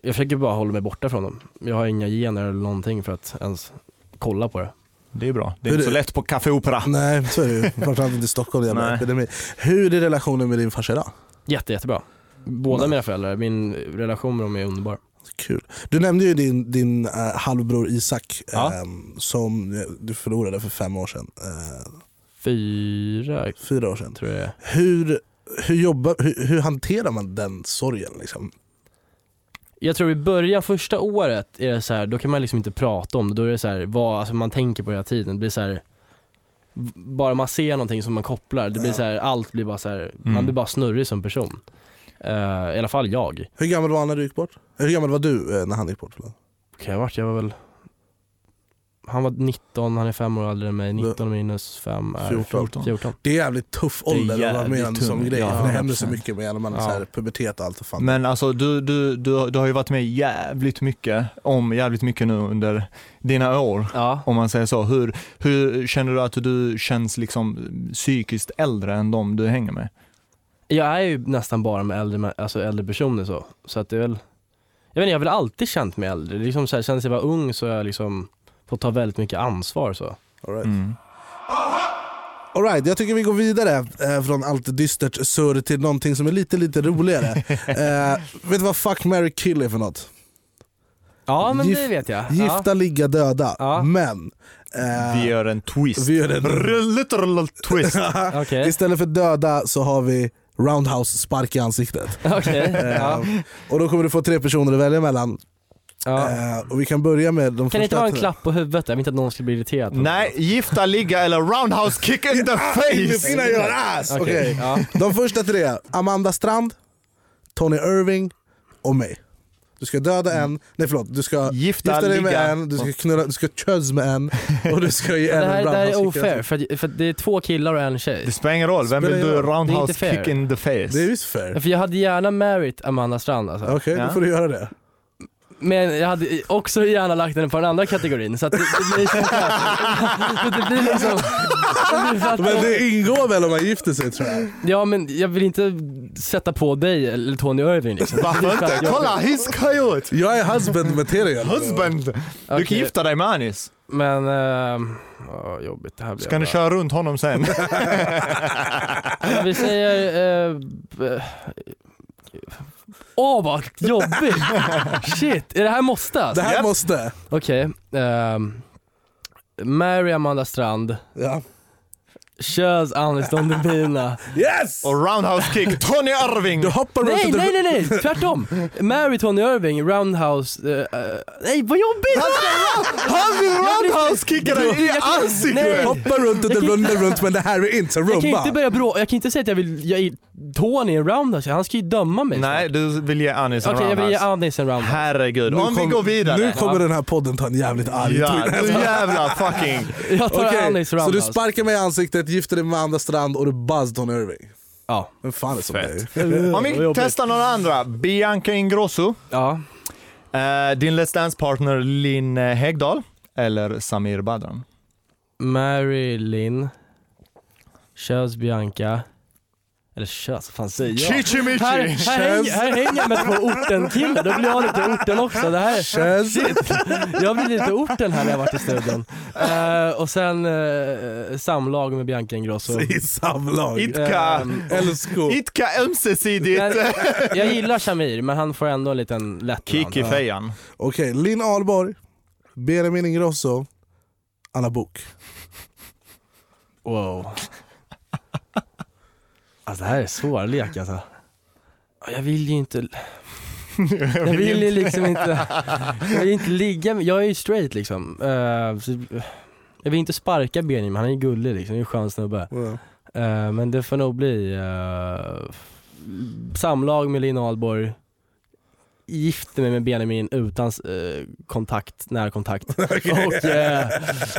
Speaker 1: jag försöker bara hålla mig borta från dem. Jag har inga gener eller någonting för att ens kolla på det.
Speaker 3: Det är bra. Det är
Speaker 2: Hur
Speaker 3: inte
Speaker 2: är-
Speaker 3: så lätt på Café Opera.
Speaker 2: Nej, så är det ju. Framförallt inte i Stockholm. Jävla
Speaker 3: Nej.
Speaker 2: epidemi. Hur är relationen med din farsa idag?
Speaker 1: Jätte, jättebra. Båda mina föräldrar, min relation med dem är underbar.
Speaker 2: Kul. Du nämnde ju din, din eh, halvbror Isak
Speaker 1: Ja.
Speaker 2: ehm, som eh, du förlorade för fem år sedan. Eh,
Speaker 1: Fyra
Speaker 2: fyra år sedan.
Speaker 1: tror jag det är.
Speaker 2: Hur, hur, jobbar, hur, hur hanterar man den sorgen? Liksom?
Speaker 1: Jag tror i början, första året, är det så här, då kan man liksom inte prata om det. Då är det så här, vad, alltså man tänker på det hela tiden. Det blir så här, v- bara man ser någonting som man kopplar, det blir så här, allt blir bara så här, man blir bara snurrig som person. Eh, I alla fall jag.
Speaker 2: Hur gammal var han när du gick bort? Hur gammal var du eh, när han gick bort? Förlåt.
Speaker 1: Kan jag ha varit? Jag var väl han var 19, han är fem år äldre än mig. 19 minus 5 är
Speaker 2: 14.
Speaker 1: 14.
Speaker 2: Det är jävligt tuff ålder att vara
Speaker 3: jävligt
Speaker 2: med om en sån
Speaker 3: tung.
Speaker 2: grej.
Speaker 3: Ja,
Speaker 2: för det händer så
Speaker 3: 100%.
Speaker 2: mycket med när man är så här, pubertet och allt. Och fan.
Speaker 3: Men alltså du, du, du, du har ju varit med jävligt mycket, om jävligt mycket nu under dina år.
Speaker 1: Ja.
Speaker 3: Om man säger så. Hur, hur känner du att du känns liksom psykiskt äldre än de du hänger med?
Speaker 1: Jag är ju nästan bara med äldre, mä- alltså äldre personer så. Så att det är väl, jag vet inte, jag har väl alltid känt mig äldre. Det är Liksom så här, känns jag var ung så har jag liksom fått ta väldigt mycket ansvar så.
Speaker 2: All right. All right, jag tycker vi går vidare eh, från allt dystert surr till någonting som är lite, lite roligare. eh, vet du vad fuck, marry, kill är för något?
Speaker 1: Ja men
Speaker 2: Gif-
Speaker 1: det vet jag.
Speaker 2: Gifta,
Speaker 1: Ja.
Speaker 2: ligga, döda.
Speaker 1: Ja.
Speaker 2: Men eh,
Speaker 3: Vi gör en twist.
Speaker 2: vi gör en
Speaker 3: Literal twist.
Speaker 1: Okej.
Speaker 2: Istället för döda så har vi roundhouse-spark i ansiktet.
Speaker 1: Okej, ja.
Speaker 2: Eh, och då kommer du få tre personer att välja mellan.
Speaker 1: ja.
Speaker 2: Eh, och vi kan börja med de
Speaker 1: Kan det inte
Speaker 2: första
Speaker 1: vara en
Speaker 2: tre.
Speaker 1: klapp på huvudet där? Jag vill inte att någon skulle bli irriterad. på
Speaker 3: Nej, gifta, ligga eller roundhouse kick in the
Speaker 2: In the
Speaker 3: face!
Speaker 2: sina your ass!
Speaker 1: Okej,
Speaker 2: Okej.
Speaker 1: ja.
Speaker 2: De första tre, Amanda Strand, Tony Irving och mig. Du ska döda en, nej förlåt, du ska
Speaker 3: Gifta,
Speaker 2: gifta dig
Speaker 3: ligga.
Speaker 2: med en, du ska knulla, du ska kös med en och du ska ge en
Speaker 1: Det här,
Speaker 2: en
Speaker 1: det här är
Speaker 2: roundhouse kick.
Speaker 1: ofair, för, att- för att det är två killar och en tjej.
Speaker 3: Det spelar ingen roll, vem vill
Speaker 2: Spelar ingen
Speaker 3: du
Speaker 2: roll.
Speaker 3: roundhouse
Speaker 1: Det är inte
Speaker 3: kick
Speaker 1: fair.
Speaker 3: in the face?
Speaker 2: Det är visst fair.
Speaker 1: För jag hade gärna married Amanda Strand alltså.
Speaker 2: Okej,
Speaker 3: Ja.
Speaker 2: då får du göra det.
Speaker 1: Men jag hade också gärna lagt den på den andra kategorin så att det, det blir så här- så att det blir liksom... du fattar.
Speaker 2: Men det ingår väl om man gifter sig tror jag.
Speaker 1: Ja men jag vill inte sätta på dig eller Tony Irving liksom.
Speaker 3: Varför inte? Kolla, his coyote!
Speaker 2: Jag är husband material.
Speaker 3: Husband! Du kan
Speaker 1: Okej.
Speaker 3: gifta dig med Anis.
Speaker 1: Men, ehm, ja, jobbigt det här blir
Speaker 3: Så kan du
Speaker 1: bra.
Speaker 3: köra runt honom sen.
Speaker 1: Vi säger... eh, b- Åh vad jobbigt! Shit, är det här måste
Speaker 2: Det
Speaker 1: alltså?
Speaker 2: här
Speaker 3: Japp.
Speaker 2: måste.
Speaker 1: Okej, ehm, Mary Amanda Strand,
Speaker 2: Ja.
Speaker 1: körs Anis Don Demina.
Speaker 2: Yes!
Speaker 3: Och roundhouse kick, Tony Irving!
Speaker 2: Du hoppar runt
Speaker 1: Nej,
Speaker 2: och du-
Speaker 1: nej, nej, nej, tvärtom! Mary Tony Irving, Roundhouse, eh, eh, nej vad jobbigt!
Speaker 3: Han vill roundhouse kicka dig i
Speaker 1: Nej.
Speaker 3: ansiktet!
Speaker 2: Hoppar runt och
Speaker 1: Jag kan
Speaker 2: runt runt men det här är inte
Speaker 1: Jag kan ju inte
Speaker 2: rumba.
Speaker 1: börja brå, jag kan inte säga att jag vill, jag är Tony i en Roundhouse, han ska ju döma mig.
Speaker 3: Nej, du vill ge Anis
Speaker 1: Okej
Speaker 3: en
Speaker 1: jag vill ge
Speaker 3: roundhouse.
Speaker 1: Anis en Roundhouse.
Speaker 3: Herregud,
Speaker 2: Nu
Speaker 3: om vi
Speaker 2: kom-
Speaker 3: går vidare.
Speaker 2: Nu kommer den här podden ta en jävligt arg
Speaker 3: Ja,
Speaker 2: ton.
Speaker 3: du jävla fucking...
Speaker 1: Jag tar
Speaker 2: Okej,
Speaker 1: Anis
Speaker 2: så du
Speaker 1: Roundhouse.
Speaker 2: sparkar mig i ansiktet, gifter dig med Amanda Strand och du buzz Tony Irving.
Speaker 1: ja.
Speaker 2: Vem fan är som dig?
Speaker 3: Om
Speaker 1: Vad
Speaker 3: vi
Speaker 1: jobbigt.
Speaker 3: testar några andra. Bianca Ingrosso.
Speaker 1: ja.
Speaker 3: Eh, din Let's Dance-partner Linn Häggdahl. Eller Samir Badran.
Speaker 1: Marilyn, körs Bianca, eller körs, vad fan säger jag?
Speaker 3: Chichimichi!
Speaker 1: Här, här, hänger, här hänger jag med två orten-killar, då blir jag lite orten också. Det här,
Speaker 2: Kös.
Speaker 1: jag blir lite orten här när jag varit i studion. Eh, och sen eh, samlag med Bianca Ingrosso.
Speaker 2: I samlag.
Speaker 3: Itka!
Speaker 1: Ehm,
Speaker 2: Älskog.
Speaker 3: Itka
Speaker 1: men,
Speaker 3: ömsesidigt!
Speaker 1: jag gillar Shamir, men han får ändå en liten lätt
Speaker 3: Kick i fejan.
Speaker 2: Okej, Linn Ahlborg, Benjamin Ingrosso, Anna Bok.
Speaker 1: Wow. Alltså det här är svårlek alltså. Jag vill ju inte... Jag vill ju liksom inte... Jag vill inte ligga med... Jag är ju straight liksom. Eh, så- Jag vill inte sparka Benjamin, han är ju gullig liksom. Han är ju en skön snubbe. Eh, Men det får nog bli eh, samlag med Linn Ahlborg. Gifte mig med Benjamin utan eh, kontakt, närkontakt. och, eh,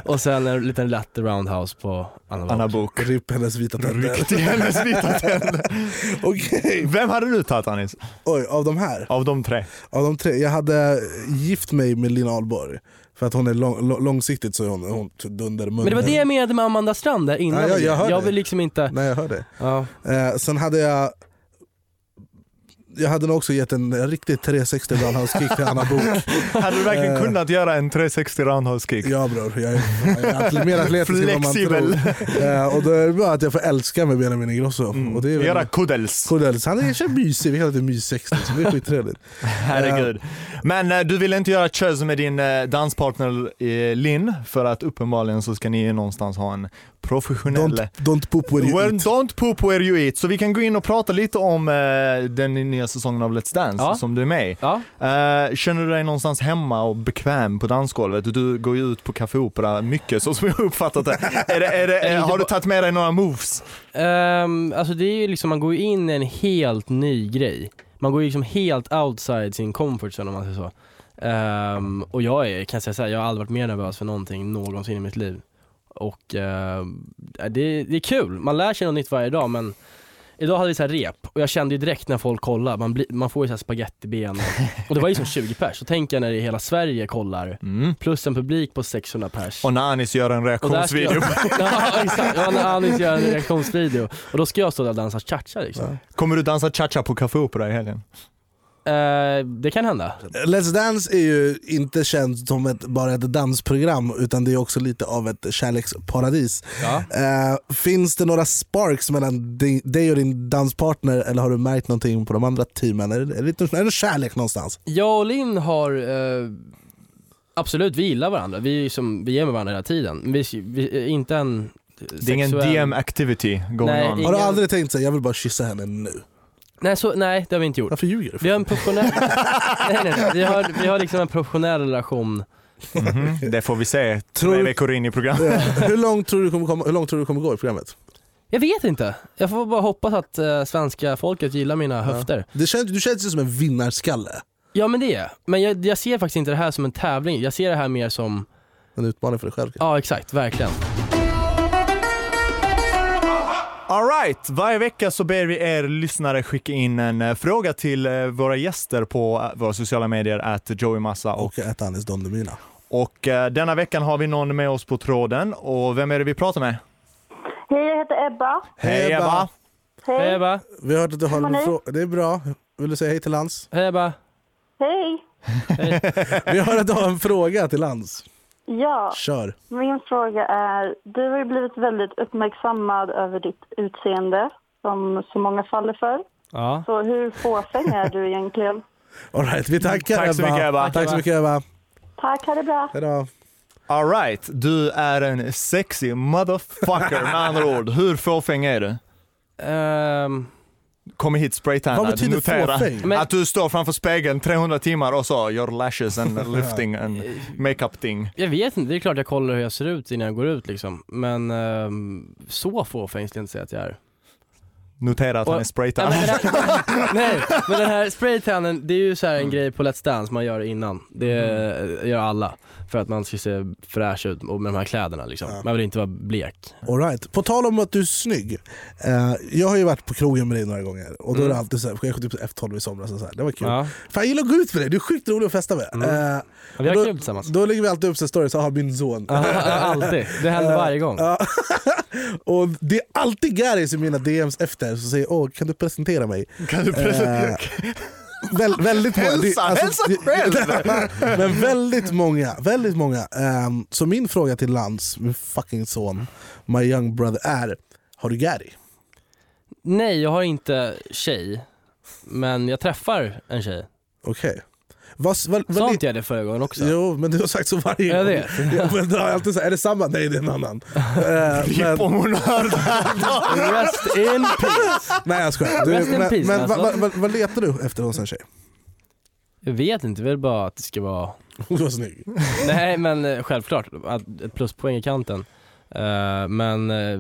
Speaker 1: och sen en liten lätt roundhouse på Anna Wahl.
Speaker 3: Anna Bok.
Speaker 2: Ripp hennes vita tänder.
Speaker 3: Riktig hennes vita tänder.
Speaker 2: Okej,
Speaker 3: Vem hade du tagit Anis?
Speaker 2: oj av de här.
Speaker 3: Av de tre?
Speaker 2: Av de tre. Jag hade gift mig med Linn Ahlborg. För att hon är lång, lång- långsiktigt så är hon, hon dundermun.
Speaker 1: Men det var det jag menade med Amanda Strand där innan.
Speaker 2: Ja, jag- jag hör dig.
Speaker 1: vill liksom inte...
Speaker 2: Nej jag hör det.
Speaker 1: Ja.
Speaker 2: Eh, sen hade jag jag hade nog också gett en riktig 360 roundhouse-kick till Anna Bok.
Speaker 3: Hade du verkligen
Speaker 2: Eh.
Speaker 3: kunnat göra en 360 roundhouse kick?
Speaker 2: Ja bror, jag är, jag är atlet- mer atletisk än vad man tror.
Speaker 3: Flexibel.
Speaker 2: Eh, och då är det bara att jag får älska med Benjamin Ingrosso.
Speaker 1: Mm.
Speaker 2: Och det är väl-
Speaker 3: Göra kuddels.
Speaker 2: Cordells, han är så mysig, vi kallar det mys-60 så det är skittrevligt.
Speaker 3: Herregud. Men eh, du ville inte göra chöz med din eh, danspartner eh, Linn, för att uppenbarligen så ska ni någonstans ha en professionell...
Speaker 2: Don't, don't poop where you
Speaker 3: Where-
Speaker 2: eat.
Speaker 3: Don't poop where you eat. Så vi kan gå in och prata lite om eh, den nya säsongen av Let's Dance
Speaker 1: Ja.
Speaker 3: som du är med i.
Speaker 1: Ja.
Speaker 3: Eh, känner du dig någonstans hemma och bekväm på dansgolvet? Du går ju ut på Café Opera mycket så som jag har uppfattat det. Är det, är det, eh, har du tagit med dig några moves?
Speaker 1: Ehm, alltså det är ju liksom, man går ju in i en helt ny grej. Man går ju liksom helt outside sin comfort zone om man säger så. Ehm, och jag är, kan jag säga så här, jag har aldrig varit mer nervös för någonting någonsin i mitt liv. Och ehm, det, det är kul, man lär sig något nytt varje dag men Idag hade vi så här rep och jag kände ju direkt när folk kollar, man, blir, man får ju så här spagettiben och, och det var ju som 20 pers, så tänker jag när det är hela Sverige kollar, plus en publik på 600 pers.
Speaker 3: Mm. Och när Anis gör
Speaker 1: Och
Speaker 3: en
Speaker 1: där ska
Speaker 3: reaktionsvideo,
Speaker 1: Jag, ja, exakt. Ja, när Anis gör en reaktionsvideo. Och då ska jag stå där och dansa cha-cha liksom.
Speaker 3: kommer du dansa cha-cha på Café Opera i helgen?
Speaker 1: Eh, det kan hända.
Speaker 2: Let's Dance är ju inte känd som ett, bara ett dansprogram utan det är också lite av ett kärleksparadis.
Speaker 1: Ja.
Speaker 2: Eh, finns det några sparks mellan di- dig och din danspartner eller har du märkt någonting på de andra teamen? Är det, är det, är det kärlek någonstans?
Speaker 1: Jag och Linn har eh, Absolut, vi gillar varandra. Vi är, ju som, vi är med varandra hela tiden. Men Vi, vi är inte en
Speaker 3: Det är ingen DM activity going
Speaker 1: Nej,
Speaker 3: on.
Speaker 1: ingen-
Speaker 2: Har du aldrig tänkt såhär, jag vill bara kyssa henne nu?
Speaker 1: Nej, så, nej det har vi inte gjort.
Speaker 2: Varför ljuger du? för?
Speaker 1: Vi har en professionell, nej, nej, nej. Vi, har, vi har liksom en professionell relation.
Speaker 3: Mhm, Det får vi se
Speaker 2: Tror-
Speaker 3: tre veckor in i programmet.
Speaker 2: Ja. hur, långt tror du kommer komma, hur långt tror du kommer gå i programmet?
Speaker 1: Jag vet inte, jag får bara hoppas att eh, svenska folket gillar mina höfter.
Speaker 2: Det känns, du känns ju som en vinnarskalle.
Speaker 1: Ja men det är jag. Men jag, jag ser faktiskt inte det här som en tävling, jag ser det här mer som,
Speaker 2: En utmaning för dig själv.
Speaker 1: ja exakt, verkligen.
Speaker 3: Alright, varje vecka så ber vi er lyssnare skicka in en eh, fråga till eh, våra gäster på eh, våra sociala medier, att Joey Massa och
Speaker 2: Och äta Anis Don Demina.
Speaker 3: Och eh, denna veckan har vi någon med oss på tråden. Och vem är det vi pratar med?
Speaker 8: Hej, jag heter Ebba.
Speaker 3: Hej Ebba!
Speaker 1: Hej
Speaker 8: Hej.
Speaker 1: Ebba,
Speaker 2: Vi har hört att du har
Speaker 8: Hur mår
Speaker 2: en
Speaker 8: ni?
Speaker 2: fråga. Det är bra. Vill du säga hej till Lans?
Speaker 1: hej Ebba.
Speaker 8: Hej.
Speaker 2: Vi har att du har en fråga till Lans.
Speaker 8: Ja,
Speaker 2: Kör.
Speaker 8: min fråga är, du har ju blivit väldigt uppmärksammad över ditt utseende som så många faller för.
Speaker 1: Ja.
Speaker 8: Så hur fåfäng är du egentligen?
Speaker 2: All right, vi tackar
Speaker 3: Tack så mycket, Ebba.
Speaker 2: Tack så mycket Ebba.
Speaker 8: Tack, ha det bra.
Speaker 2: Hejdå.
Speaker 3: Alright, du är en sexy motherfucker med andra ord. Hur fåfäng är du?
Speaker 1: Ehm,
Speaker 3: Kom hit spraytannad.
Speaker 2: Vad betyder
Speaker 3: Notera
Speaker 2: fåfäng?
Speaker 1: Men-
Speaker 3: Att du står framför spegeln 300 timmar och så your lashes and lifting and makeup thing.
Speaker 1: jag vet inte, det är klart jag kollar hur jag ser ut innan jag går ut liksom. Men ehm, så fåfäng skulle jag inte säga att jag är.
Speaker 3: Notera att
Speaker 1: Och-
Speaker 3: han
Speaker 1: Ja,
Speaker 3: är spraytannad.
Speaker 1: men den här, nej, men den här spraytannen, det är ju så här en grej på Let's Dance man gör innan. Det eh, gör alla. För att man ska se fräsch ut och med de här kläderna liksom. Man vill inte vara blek.
Speaker 2: All right. På tal om att du är snygg. Eh, jag har ju varit på krogen med dig några gånger och då är det alltid såhär, jag gick typ F12 i somras och så här. det var kul.
Speaker 1: Mm. Ja.
Speaker 2: Fan jag gillar att gå ut med dig, du är sjukt rolig att festa med. Eh,
Speaker 1: Men vi har
Speaker 2: då,
Speaker 1: kul tillsammans.
Speaker 2: Då lägger vi alltid upp en story, så har min son.
Speaker 1: Alltid. Det händer varje gång.
Speaker 2: Ja. och det är alltid Garys i mina DMs efter som säger åh kan du presentera mig?
Speaker 3: Kan du
Speaker 2: Eh, Väl, väldigt många.
Speaker 3: Hälsa,
Speaker 2: Det-
Speaker 3: hälsa
Speaker 2: det- Men väldigt många. Väldigt många. Ehm, så min fråga till Lans, min fucking son, my young brother är, har du Gary?
Speaker 1: Nej, jag har inte tjej. Men jag träffar en tjej.
Speaker 2: Okej. Vad, vad, vad
Speaker 1: Sa
Speaker 2: li-
Speaker 1: inte jag det förra gången också?
Speaker 2: Jo, men du har sagt så varje
Speaker 1: Jag
Speaker 2: gång.
Speaker 1: vet.
Speaker 2: Ja, men då har jag alltid sagt, är det samma? Nej, det är en annan. Eh, men,
Speaker 3: Om hon hör det här.
Speaker 1: Rest in peace.
Speaker 2: nej jag skojar. Du,
Speaker 1: Rest in
Speaker 2: men
Speaker 1: peace,
Speaker 2: men
Speaker 1: alltså.
Speaker 2: vad, vad, vad, vad letar du efter hos en tjej?
Speaker 1: Jag vet inte, jag vill bara att det ska vara
Speaker 2: Du var snygg.
Speaker 1: Nej men eh, självklart, att- ett pluspoäng i kanten. Eh, men eh,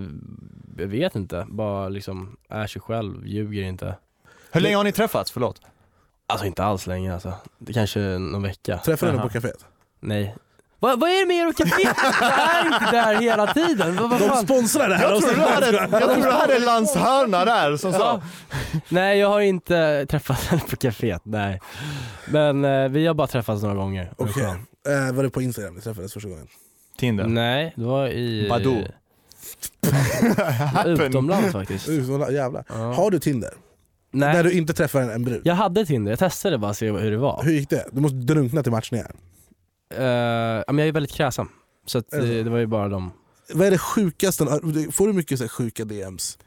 Speaker 1: jag vet inte, bara liksom är sig själv, ljuger inte.
Speaker 3: Hur länge har ni träffats? Förlåt.
Speaker 1: Alltså inte alls länge alltså. Det kanske är någon vecka.
Speaker 2: Träffade du henne
Speaker 3: Aha.
Speaker 2: på kaféet?
Speaker 1: Nej. Va, vad är det med er och kaféet? Jag är inte där hela tiden. Va, vad
Speaker 2: De
Speaker 1: fan?
Speaker 2: sponsrar det här.
Speaker 3: Jag
Speaker 2: Och
Speaker 3: tror
Speaker 2: sen-
Speaker 3: du hade, jag tror du hade Lans hörna där som sa
Speaker 1: Ja. Nej jag har inte träffat henne på kaféet, nej. Men eh, vi har bara träffats några gånger.
Speaker 2: Okej. Eh, var det på Instagram ni träffades första gången?
Speaker 3: Tinder.
Speaker 1: Nej, det var i... eh,
Speaker 3: Badoo.
Speaker 1: Utomlands faktiskt.
Speaker 2: Uh, så jävlar.
Speaker 1: Ja.
Speaker 2: Har du Tinder? Där
Speaker 1: Nej,
Speaker 2: du inte träffar en, en brud?
Speaker 1: jag hade Tinder, jag testade bara att se hur det var.
Speaker 2: Hur gick det? Du måste drunkna till matchningar.
Speaker 1: Eh, ja, men jag är väldigt kräsen. Så att, eh,
Speaker 2: Är det
Speaker 1: det, det var ju bara dem.
Speaker 2: Vad är det sjukaste? Får du mycket så här sjuka DMs?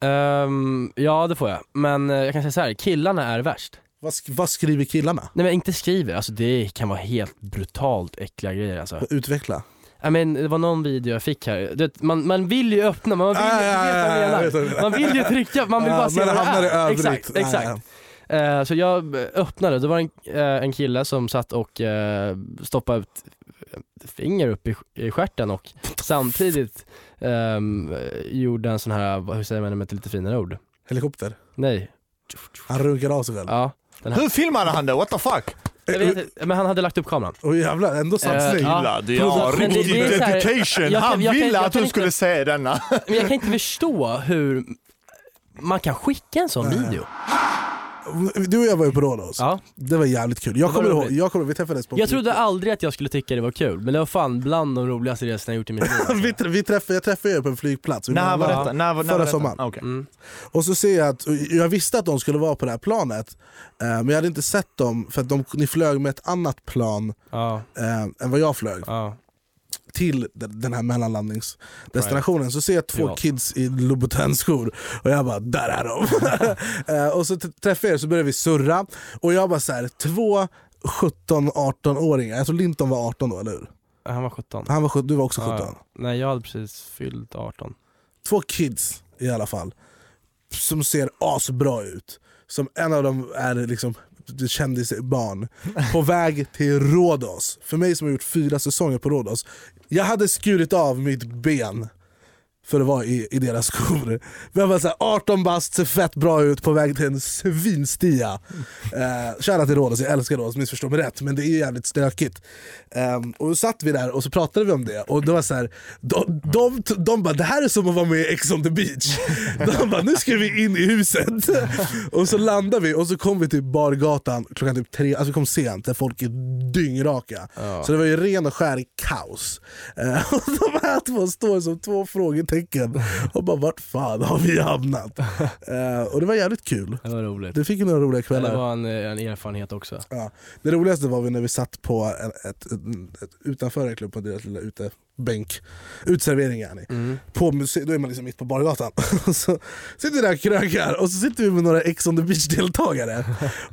Speaker 1: Ehm, ja det får jag, men eh, jag kan säga så här, killarna är värst.
Speaker 2: Vad, sk- vad skriver killarna?
Speaker 1: Nej men inte skriver, alltså det kan vara helt brutalt äckliga grejer alltså.
Speaker 2: Utveckla.
Speaker 1: I mean, det var någon video jag fick här, du vet, man, man vill ju öppna, men man vill ju,
Speaker 2: Ah, ja,
Speaker 1: du vet vad jag
Speaker 2: ja, ja, jag vet vad
Speaker 1: menar.
Speaker 2: du menar.
Speaker 1: man vill ju trycka, man vill
Speaker 2: Ja,
Speaker 1: bara se
Speaker 2: men
Speaker 1: vad det
Speaker 2: hamnar i
Speaker 1: är.
Speaker 2: övrigt. Ah,
Speaker 1: Exakt,
Speaker 2: Ja,
Speaker 1: exakt. Eh, så jag eh, öppnade, det var en, eh, en kille som satt och eh, stoppade ut ett finger upp i, i stjärten och samtidigt ehm, gjorde en sån här, vad- hur säger man det med ett lite finare ord?
Speaker 2: Helikopter.
Speaker 1: Nej,
Speaker 2: Han runkar av sig själv.
Speaker 1: ja.
Speaker 3: Hur filmade han det? What the fuck?
Speaker 1: Jag vet, inte, men han hade lagt upp kameran.
Speaker 2: Åh jävlar, ändå satsning.
Speaker 1: Eh, ja.
Speaker 3: det
Speaker 1: Ja, men det- det är så här- jag kan- jag kan- jag kan inte-
Speaker 3: se denna.
Speaker 1: Men jag kan inte förstå hur man kan skicka en sån video.
Speaker 2: Du och jag var ju på Rhodos.
Speaker 1: Ja.
Speaker 2: Det var jävligt kul. Jag
Speaker 1: Det
Speaker 2: kommer
Speaker 1: var
Speaker 2: ihåg,
Speaker 1: roligt.
Speaker 2: jag kommer, vi träffades på...
Speaker 1: Jag trodde aldrig att jag skulle tycka det var kul, men det var fan bland de roligaste resorna jag gjort i mitt liv.
Speaker 2: vi,
Speaker 1: alltså.
Speaker 2: tr- vi träffade, jag träffade er på en flygplats. Vi
Speaker 3: När var
Speaker 2: var-
Speaker 3: detta? När, var- när
Speaker 2: Förra
Speaker 3: var detta?
Speaker 2: sommaren.
Speaker 3: Ah, okej.
Speaker 1: Mm.
Speaker 2: Och så ser jag att, och jag visste att de skulle vara på det här planet, eh, men jag hade inte sett dem för att de, ni flög med ett annat plan
Speaker 1: Ja,
Speaker 2: eh, än vad jag flög
Speaker 1: ja.
Speaker 2: till de- den här mellanlandningsdestinationen. Så ser jag två
Speaker 1: Privat.
Speaker 2: kids i Louboutin-skor och jag bara där är de. Eh, och så t- träffar jag er så börjar vi surra och jag bara så här, två 17-18-åringar, jag tror Linton var 18 då, eller hur?
Speaker 1: Han var 17.
Speaker 2: Han var, sjut- du var också
Speaker 1: Ja,
Speaker 2: 17.
Speaker 1: Nej jag hade precis fyllt 18.
Speaker 2: Två kids i alla fall, som ser asbra ut. Som en av dem är liksom kändisbarn, på väg till Rhodos. För mig som har gjort fyra säsonger på Rhodos. Jag hade skurit av mitt ben för att vara i, i deras skor. Men jag var så här, 18 bast, ser fett bra ut, på väg till en svinstia. Eh, Kära till Rhodos, jag älskar Rhodos, missförstå mig rätt, men det är jävligt stökigt. Ehm, och då satt vi där och så pratade vi om det, och det var så här, de, de, de, bara “det här är som att vara med i Ex on the beach”. De bara “nu ska vi in i huset”. och så landade vi och så kom vi till bargatan klockan typ tre, alltså vi kom sent, där folk är dyngraka. Så det var ju ren och skär kaos. Eh, och de här två står som två frågetecken och bara “vart fan har vi hamnat?” Eh, Och det var jävligt kul.
Speaker 1: Det var roligt.
Speaker 2: Du fick ju några roliga kvällar.
Speaker 1: Det var en, eh, en erfarenhet också.
Speaker 2: Ja. Det roligaste var vi när vi satt på en, ett, ett, ett, utanför en klubb på deras lilla utebänk, utservering är ni.
Speaker 1: Mm.
Speaker 2: På muse- då är man liksom mitt på bargatan. Och så sitter vi där och krökar och så sitter vi med några Ex on the beach-deltagare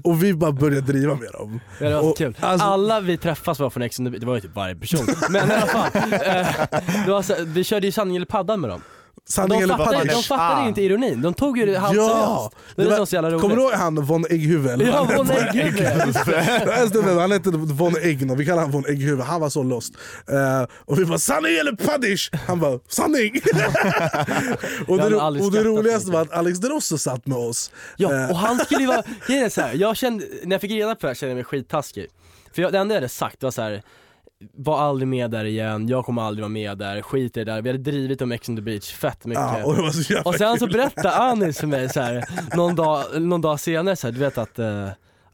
Speaker 2: och vi bara börjar driva med dem.
Speaker 1: Ja, det var
Speaker 2: Och,
Speaker 1: kul.
Speaker 2: alltså-
Speaker 1: Alla vi träffas var från Ex on the Beach, det var ju typ varje person. Men i alla fall, eh, det var så, vi körde ju sanning eller paddan med dem.
Speaker 2: Sanning
Speaker 1: De
Speaker 2: eller
Speaker 1: fattade,
Speaker 2: papper?
Speaker 1: de fattade ju inte ironin, de tog ju det halvseriöst.
Speaker 2: Ja!
Speaker 1: Det var det
Speaker 2: Det var-
Speaker 1: som var så jävla roligt.
Speaker 2: Kommer du ihåg han von Ägghuvud?
Speaker 1: Ja, von Egghuvud.
Speaker 2: Jag stämmer, han hette von Egno, vi kallar han von Egghuvud, han var så lost. Eh, och vi bara “sanning eller paddish?” Han bara “sanning”. och, det,
Speaker 1: hade
Speaker 2: ro-
Speaker 1: aldrig
Speaker 2: och det
Speaker 1: skrattat
Speaker 2: roligaste
Speaker 1: så
Speaker 2: var att Alex Derosso satt med oss.
Speaker 1: Ja,
Speaker 2: Eh,
Speaker 1: och han skulle ju vara, grejen är så här, jag kände, när jag fick reda på det här kände jag mig skittaskig. För jag, det enda jag hade sagt var så här. var aldrig med där igen, jag kommer aldrig vara med där, skit i det där. Vi hade drivit om Ex on the beach fett mycket.
Speaker 2: ja, och det var så jävla
Speaker 1: Och sen så
Speaker 2: kul.
Speaker 1: berättade Anis för mig så här, någon, dag, någon dag senare så här, du vet att eh,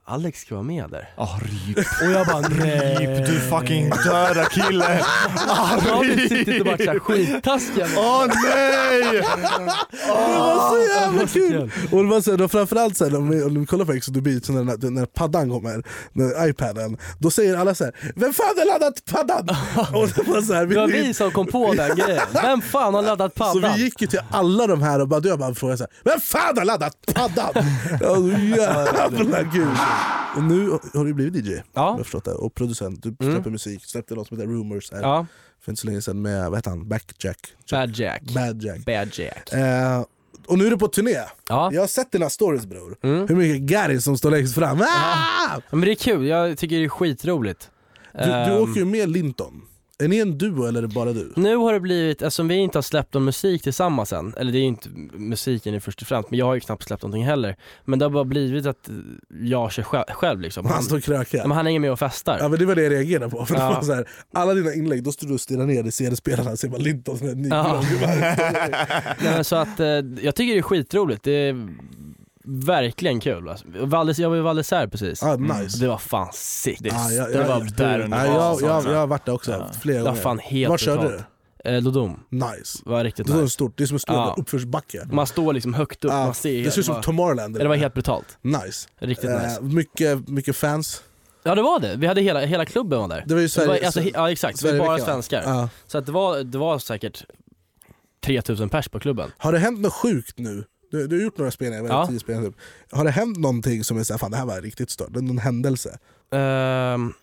Speaker 1: Alex ska vara med där.
Speaker 3: Ah, ryp.
Speaker 1: Och jag bara nej.
Speaker 3: Ryp, du fucking döda kille! Ah,
Speaker 1: Jag har ju suttit och
Speaker 3: ryp!
Speaker 1: varit såhär skittaskiga.
Speaker 3: Åh nej!
Speaker 2: Det var så jävla
Speaker 1: var så
Speaker 2: kul! Och det var så här, då framförallt så här, om, vi, om vi kollar på Ex on the beach, när, när, när paddan kommer, när iPaden, då säger alla så här “Vem fan har laddat paddan?” Och det var så här,
Speaker 1: Det var
Speaker 2: vi-
Speaker 1: vi som kom på den grejen. Vem fan har laddat
Speaker 2: Så
Speaker 1: paddan?
Speaker 2: vi gick ju till alla de här och bara, jag bara frågade så här, vem fan har laddat paddan? Ja, så jävla kul. Och nu har du blivit DJ, om jag har förstått det, och producent. Du släpper musik, släppte något som heter Rumors här,
Speaker 1: Mm. Ja,
Speaker 2: för inte så länge sedan med, vad heter han, Backjack?
Speaker 1: Bad Jack.
Speaker 2: Bad Jack.
Speaker 1: Bad Jack.
Speaker 2: Eh, och nu är du på turné.
Speaker 1: Ja. Mm.
Speaker 2: Jag har sett dina stories bror. Hur mycket Gary som står längst fram. Ah!
Speaker 1: Men det är kul, jag tycker det är skitroligt.
Speaker 2: Du, du
Speaker 1: Ehm,
Speaker 2: åker ju med Linton. Är ni en duo eller är det bara du?
Speaker 1: Nu har det blivit, eftersom vi inte har släppt någon musik tillsammans än, eller det är ju inte musiken i först och främst, men jag har ju knappt släppt någonting heller. Men det har bara blivit att jag kör själv, själv liksom.
Speaker 2: Han står och krökar.
Speaker 1: men han hänger med och festar.
Speaker 2: Ja, men det var det jag reagerade på. För det
Speaker 1: Ja.
Speaker 2: var så här, alla dina inlägg, då stod du och stirrade ner i CD-spelarna och ser bara Linton som en ny
Speaker 1: Ja.
Speaker 2: lång gubbe.
Speaker 1: Nej, men så att eh, jag tycker det är skitroligt, det är verkligen kul. Alltså. Valles, jag var i Valle d'Isère precis.
Speaker 2: Ah, nice.
Speaker 1: Mm. Det var fan sick. Det,
Speaker 2: Ah, ja, ja,
Speaker 1: var
Speaker 2: ja.
Speaker 1: där
Speaker 3: Ja,
Speaker 1: under. alltså.
Speaker 2: Nej, jag, jag, jag har varit där också flera
Speaker 1: Det var fan
Speaker 2: gånger.
Speaker 1: helt
Speaker 2: Vart körde
Speaker 1: brutalt. Eh, Lodom,
Speaker 2: du? Nice.
Speaker 1: var riktigt
Speaker 2: Det är, så
Speaker 1: nice.
Speaker 2: stort, det är som en stor
Speaker 1: Ja.
Speaker 2: uppförsbacke.
Speaker 1: Man står liksom högt upp,
Speaker 2: Ah,
Speaker 1: man ser
Speaker 2: det ser ut som
Speaker 1: var-
Speaker 2: Tomorrowland.
Speaker 1: Det var helt brutalt,
Speaker 2: Nice.
Speaker 1: riktigt
Speaker 2: Eh,
Speaker 1: nice.
Speaker 2: mycket, mycket fans.
Speaker 1: Ja det var det, vi hade hela, hela klubben var där.
Speaker 2: Det var ju Sverige,
Speaker 1: det var, alltså, he- ja exakt, så det var bara
Speaker 2: Sverigeveckan.
Speaker 1: svenskar.
Speaker 2: Ja.
Speaker 1: Så att det, var, det var säkert 3000 pers på klubben.
Speaker 2: Har det hänt något sjukt nu? Du, du har gjort några spelningar,
Speaker 1: Ja.
Speaker 2: ja. tio spelningar typ. Har det hänt någonting som är såhär, fan det här var riktigt stört, någon händelse?
Speaker 1: Ehm,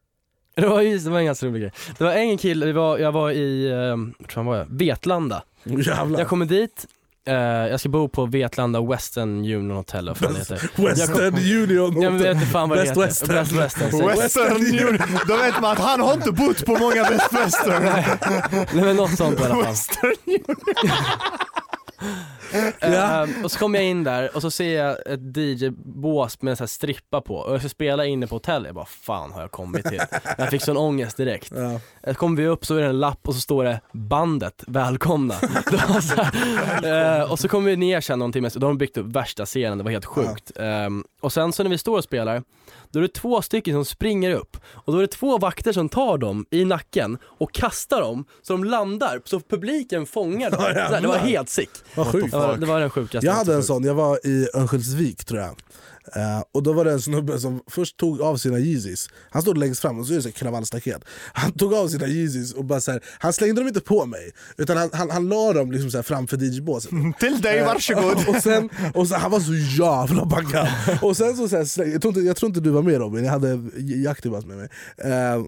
Speaker 1: det var ju det var en ganska rolig grej. Det var en kille, vi var, jag var i, um, tror han var jag, Vetlanda.
Speaker 2: Jävlar.
Speaker 1: Mm. Jag kommer dit, eh, jag ska bo på Vetlanda Western Union Hotel, vad fan det heter.
Speaker 2: Western Union.
Speaker 1: Jag vet inte fan vad det
Speaker 2: Best
Speaker 1: heter.
Speaker 2: Western.
Speaker 1: Best Western. säger jag.
Speaker 3: Western Union. Då vet man att han har inte bott på många Best Western.
Speaker 1: Nej men något sånt i alla fall.
Speaker 3: Western
Speaker 1: Ehm, och så kommer jag in där och så ser jag ett DJ-bås med en sån här strippa på och jag ska spela inne på hotellet. Jag bara fan har jag kommit till? Jag fick sån ångest direkt.
Speaker 2: Ja.
Speaker 1: Eh, Kommer vi upp så är det en lapp och så står det bandet, välkomna. Det var så här, eh, och så kommer vi ner sen någon timme, så då har de byggt upp värsta scenen, det var helt sjukt. Ehm, och sen så när vi står och spelar, då är det två stycken som springer upp och då är det två vakter som tar dem i nacken och kastar dem så de landar, så publiken fångar dem. Så här, det var helt sick.
Speaker 2: Vad sjukt.
Speaker 1: Det var, det var den sjukaste.
Speaker 2: Jag hade en sån, jag var i Örnsköldsvik tror jag. Eh, och då var det en snubbe som först tog av sina Yeezys, han stod längst fram och så är det så här kravallstaket. Han tog av sina Yeezys och bara så här, han slängde dem inte på mig, utan han, han, han la dem liksom så här framför DJ-båset.
Speaker 3: Till
Speaker 2: Eh.
Speaker 3: dig, varsågod.
Speaker 2: och sen, och sen, han var så jävla bankad. Och sen så, så här, släng- jag, tror inte, jag tror inte du var med Robin, jag hade J- Jaktimas med mig. Eh,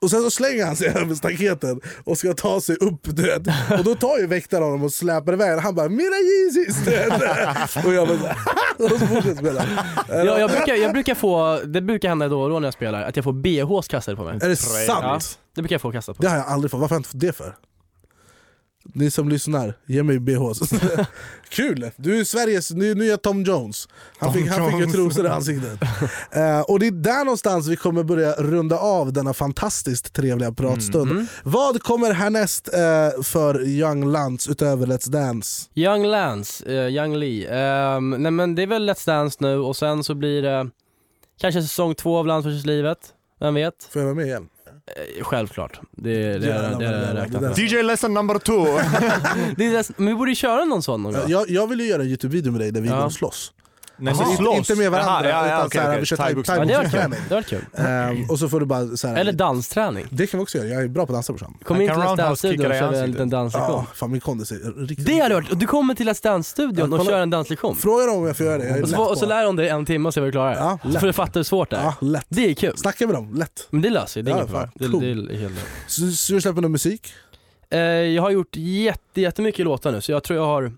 Speaker 2: Och sen så slänger han sig över staketet och ska ta sig upp. Du vet. Och då tar ju väktaren honom och släpar iväg Han bara “Mira Jesus!” du vet. Och jag bara så, och så fortsätter spela.
Speaker 1: Ja, jag, brukar, jag brukar få, det brukar hända då och då när jag spelar, att jag får BHs kastade på mig.
Speaker 2: Är det
Speaker 1: Ja,
Speaker 2: sant?
Speaker 1: det brukar jag få kastat på
Speaker 2: Det
Speaker 1: mig.
Speaker 2: har jag aldrig fått. Varför har jag inte fått det för? Ni som lyssnar, ge mig BH. Kul! Du är Sveriges ny, nya Tom Jones. Han, fick, han fick ju
Speaker 3: Jones.
Speaker 2: trosor i ansiktet. Eh, och det är där någonstans vi kommer börja runda av denna fantastiskt trevliga pratstund. Vad kommer härnäst eh, för Young Lantz utöver Let's Dance?
Speaker 1: Young Lance, eh, Young Lee. Ehm, nej men det är väl Let's Dance nu och sen så blir det kanske säsong två av Landsförsvarslivet. Vem vet?
Speaker 2: Får jag vara med igen?
Speaker 1: Eh, Självklart. Det, det, det,
Speaker 2: Jävlar,
Speaker 1: det,
Speaker 2: vad det
Speaker 1: det,
Speaker 2: där-
Speaker 1: räknat
Speaker 2: det
Speaker 1: med.
Speaker 2: där-
Speaker 3: DJ lesson number two!
Speaker 1: det är nästan- Men vi borde ju köra någon sån någon gång.
Speaker 2: Eh, Jag, jag vill ju göra en Youtube-video med dig där vi
Speaker 1: Ja.
Speaker 2: går och slåss.
Speaker 3: Nej,
Speaker 2: Alltså, inte- inte med varandra,
Speaker 3: Jaha,
Speaker 2: utan
Speaker 3: okej,
Speaker 2: så här,
Speaker 3: okej.
Speaker 2: vi kör
Speaker 3: Thai-boxning.
Speaker 1: Ja,
Speaker 2: thai-
Speaker 1: det var kul.
Speaker 2: träning.
Speaker 1: Det var kul.
Speaker 2: Eh, och så får du bara... Så här,
Speaker 1: Eller dansträning.
Speaker 2: det kan vi också göra, jag är bra på att dansa brorsan.
Speaker 1: Kommer
Speaker 3: Han
Speaker 1: in till
Speaker 3: kan
Speaker 1: Let's
Speaker 3: roundhouse
Speaker 1: Dance-studion
Speaker 3: kicka
Speaker 1: och kör en
Speaker 3: dig i ansiktet.
Speaker 1: liten danslektion.
Speaker 2: Ja, fan min kondis är riktigt
Speaker 1: Det hade varit, och du kommer till Let's
Speaker 2: Ja,
Speaker 1: Dance-studion och
Speaker 2: kolla.
Speaker 1: kör en danslektion.
Speaker 2: Fråga dem om jag får göra det, jag är
Speaker 1: Och så,
Speaker 2: lätt
Speaker 1: får- och så
Speaker 2: på.
Speaker 1: lär hon dig en timme och se vad du klarar.
Speaker 2: Ja,
Speaker 1: så får du fatta hur svårt det är.
Speaker 2: Ja, lätt.
Speaker 1: Det är kul.
Speaker 2: Snacka med dem, lätt.
Speaker 1: Men det löser sig, det är
Speaker 2: Ja,
Speaker 1: inget problem.
Speaker 2: fan,
Speaker 1: Det,
Speaker 2: cool.
Speaker 1: det är helt lugnt.
Speaker 2: Så, så du släpper någon musik?
Speaker 1: Eh, Jag har gjort jätte, jättemycket låtar nu, så jag tror jag har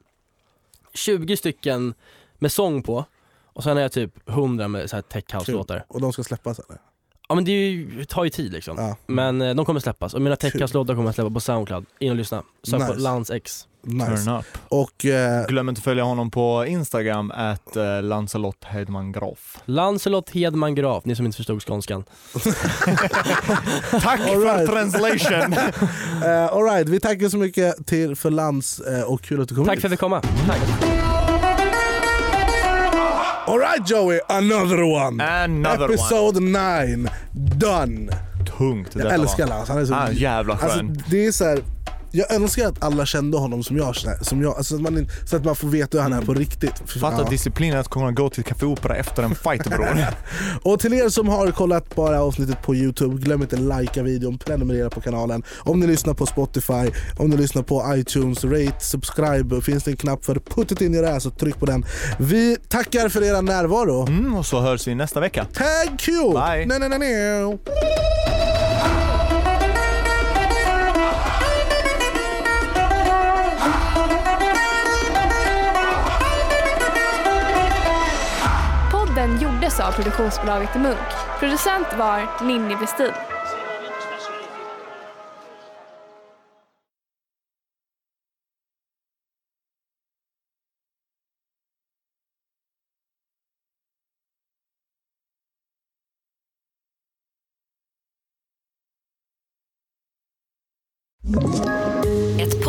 Speaker 1: 20 stycken med sång på. Och sen har jag typ 100 med så här tech house-låtar.
Speaker 2: Och de ska släppas eller?
Speaker 1: Ja men det, är ju, det tar ju tid liksom.
Speaker 2: Ja,
Speaker 1: Men eh, de kommer släppas, och mina tech
Speaker 2: Kul.
Speaker 1: house-låtar kommer jag släppa på Soundcloud. In och lyssna. Sök på
Speaker 2: Nice.
Speaker 1: Lans X.
Speaker 2: nice.
Speaker 3: Turn up.
Speaker 2: Och eh,
Speaker 3: Glöm inte att följa honom på Instagram, at eh, Lancelot Hedman Graf.
Speaker 1: Lancelot Hedman Graf, ni som inte förstod skånskan.
Speaker 3: Tack
Speaker 2: All right.
Speaker 3: för translation!
Speaker 2: eh, alright, vi tackar så mycket till för Lans eh, och kul att du kom
Speaker 1: Tack
Speaker 2: hit.
Speaker 1: för att vi kom. Tack.
Speaker 2: Alright Joey, another one!
Speaker 3: Another one.
Speaker 2: Episode 9, done!
Speaker 3: Tungt detta
Speaker 2: Jag älskar
Speaker 3: var.
Speaker 2: Lans, han är så
Speaker 3: Han är jävla skön.
Speaker 2: Alltså, det är så här, jag önskar att alla kände honom som jag, känner- som jag alltså, att man, in- så att man får veta hur han är på riktigt. Fy fan,
Speaker 3: Fatta
Speaker 2: ja.
Speaker 3: disciplinen att kunna gå till Café Opera efter en fight bror.
Speaker 2: Och till er som har kollat bara avsnittet på Youtube, glöm inte likea videon, prenumerera på kanalen. Om ni lyssnar på Spotify, om ni lyssnar på iTunes, rate, subscribe. Finns det en knapp för put it in your ass så tryck på den. Vi tackar för er närvaro.
Speaker 3: Mm, och så hörs vi nästa vecka.
Speaker 2: Thank you!
Speaker 3: Bye.
Speaker 2: Nej, nej, nej, nej.
Speaker 4: Podden gjordes av produktionsbolaget Munk. Producent var Ninni Westin.
Speaker 5: Ett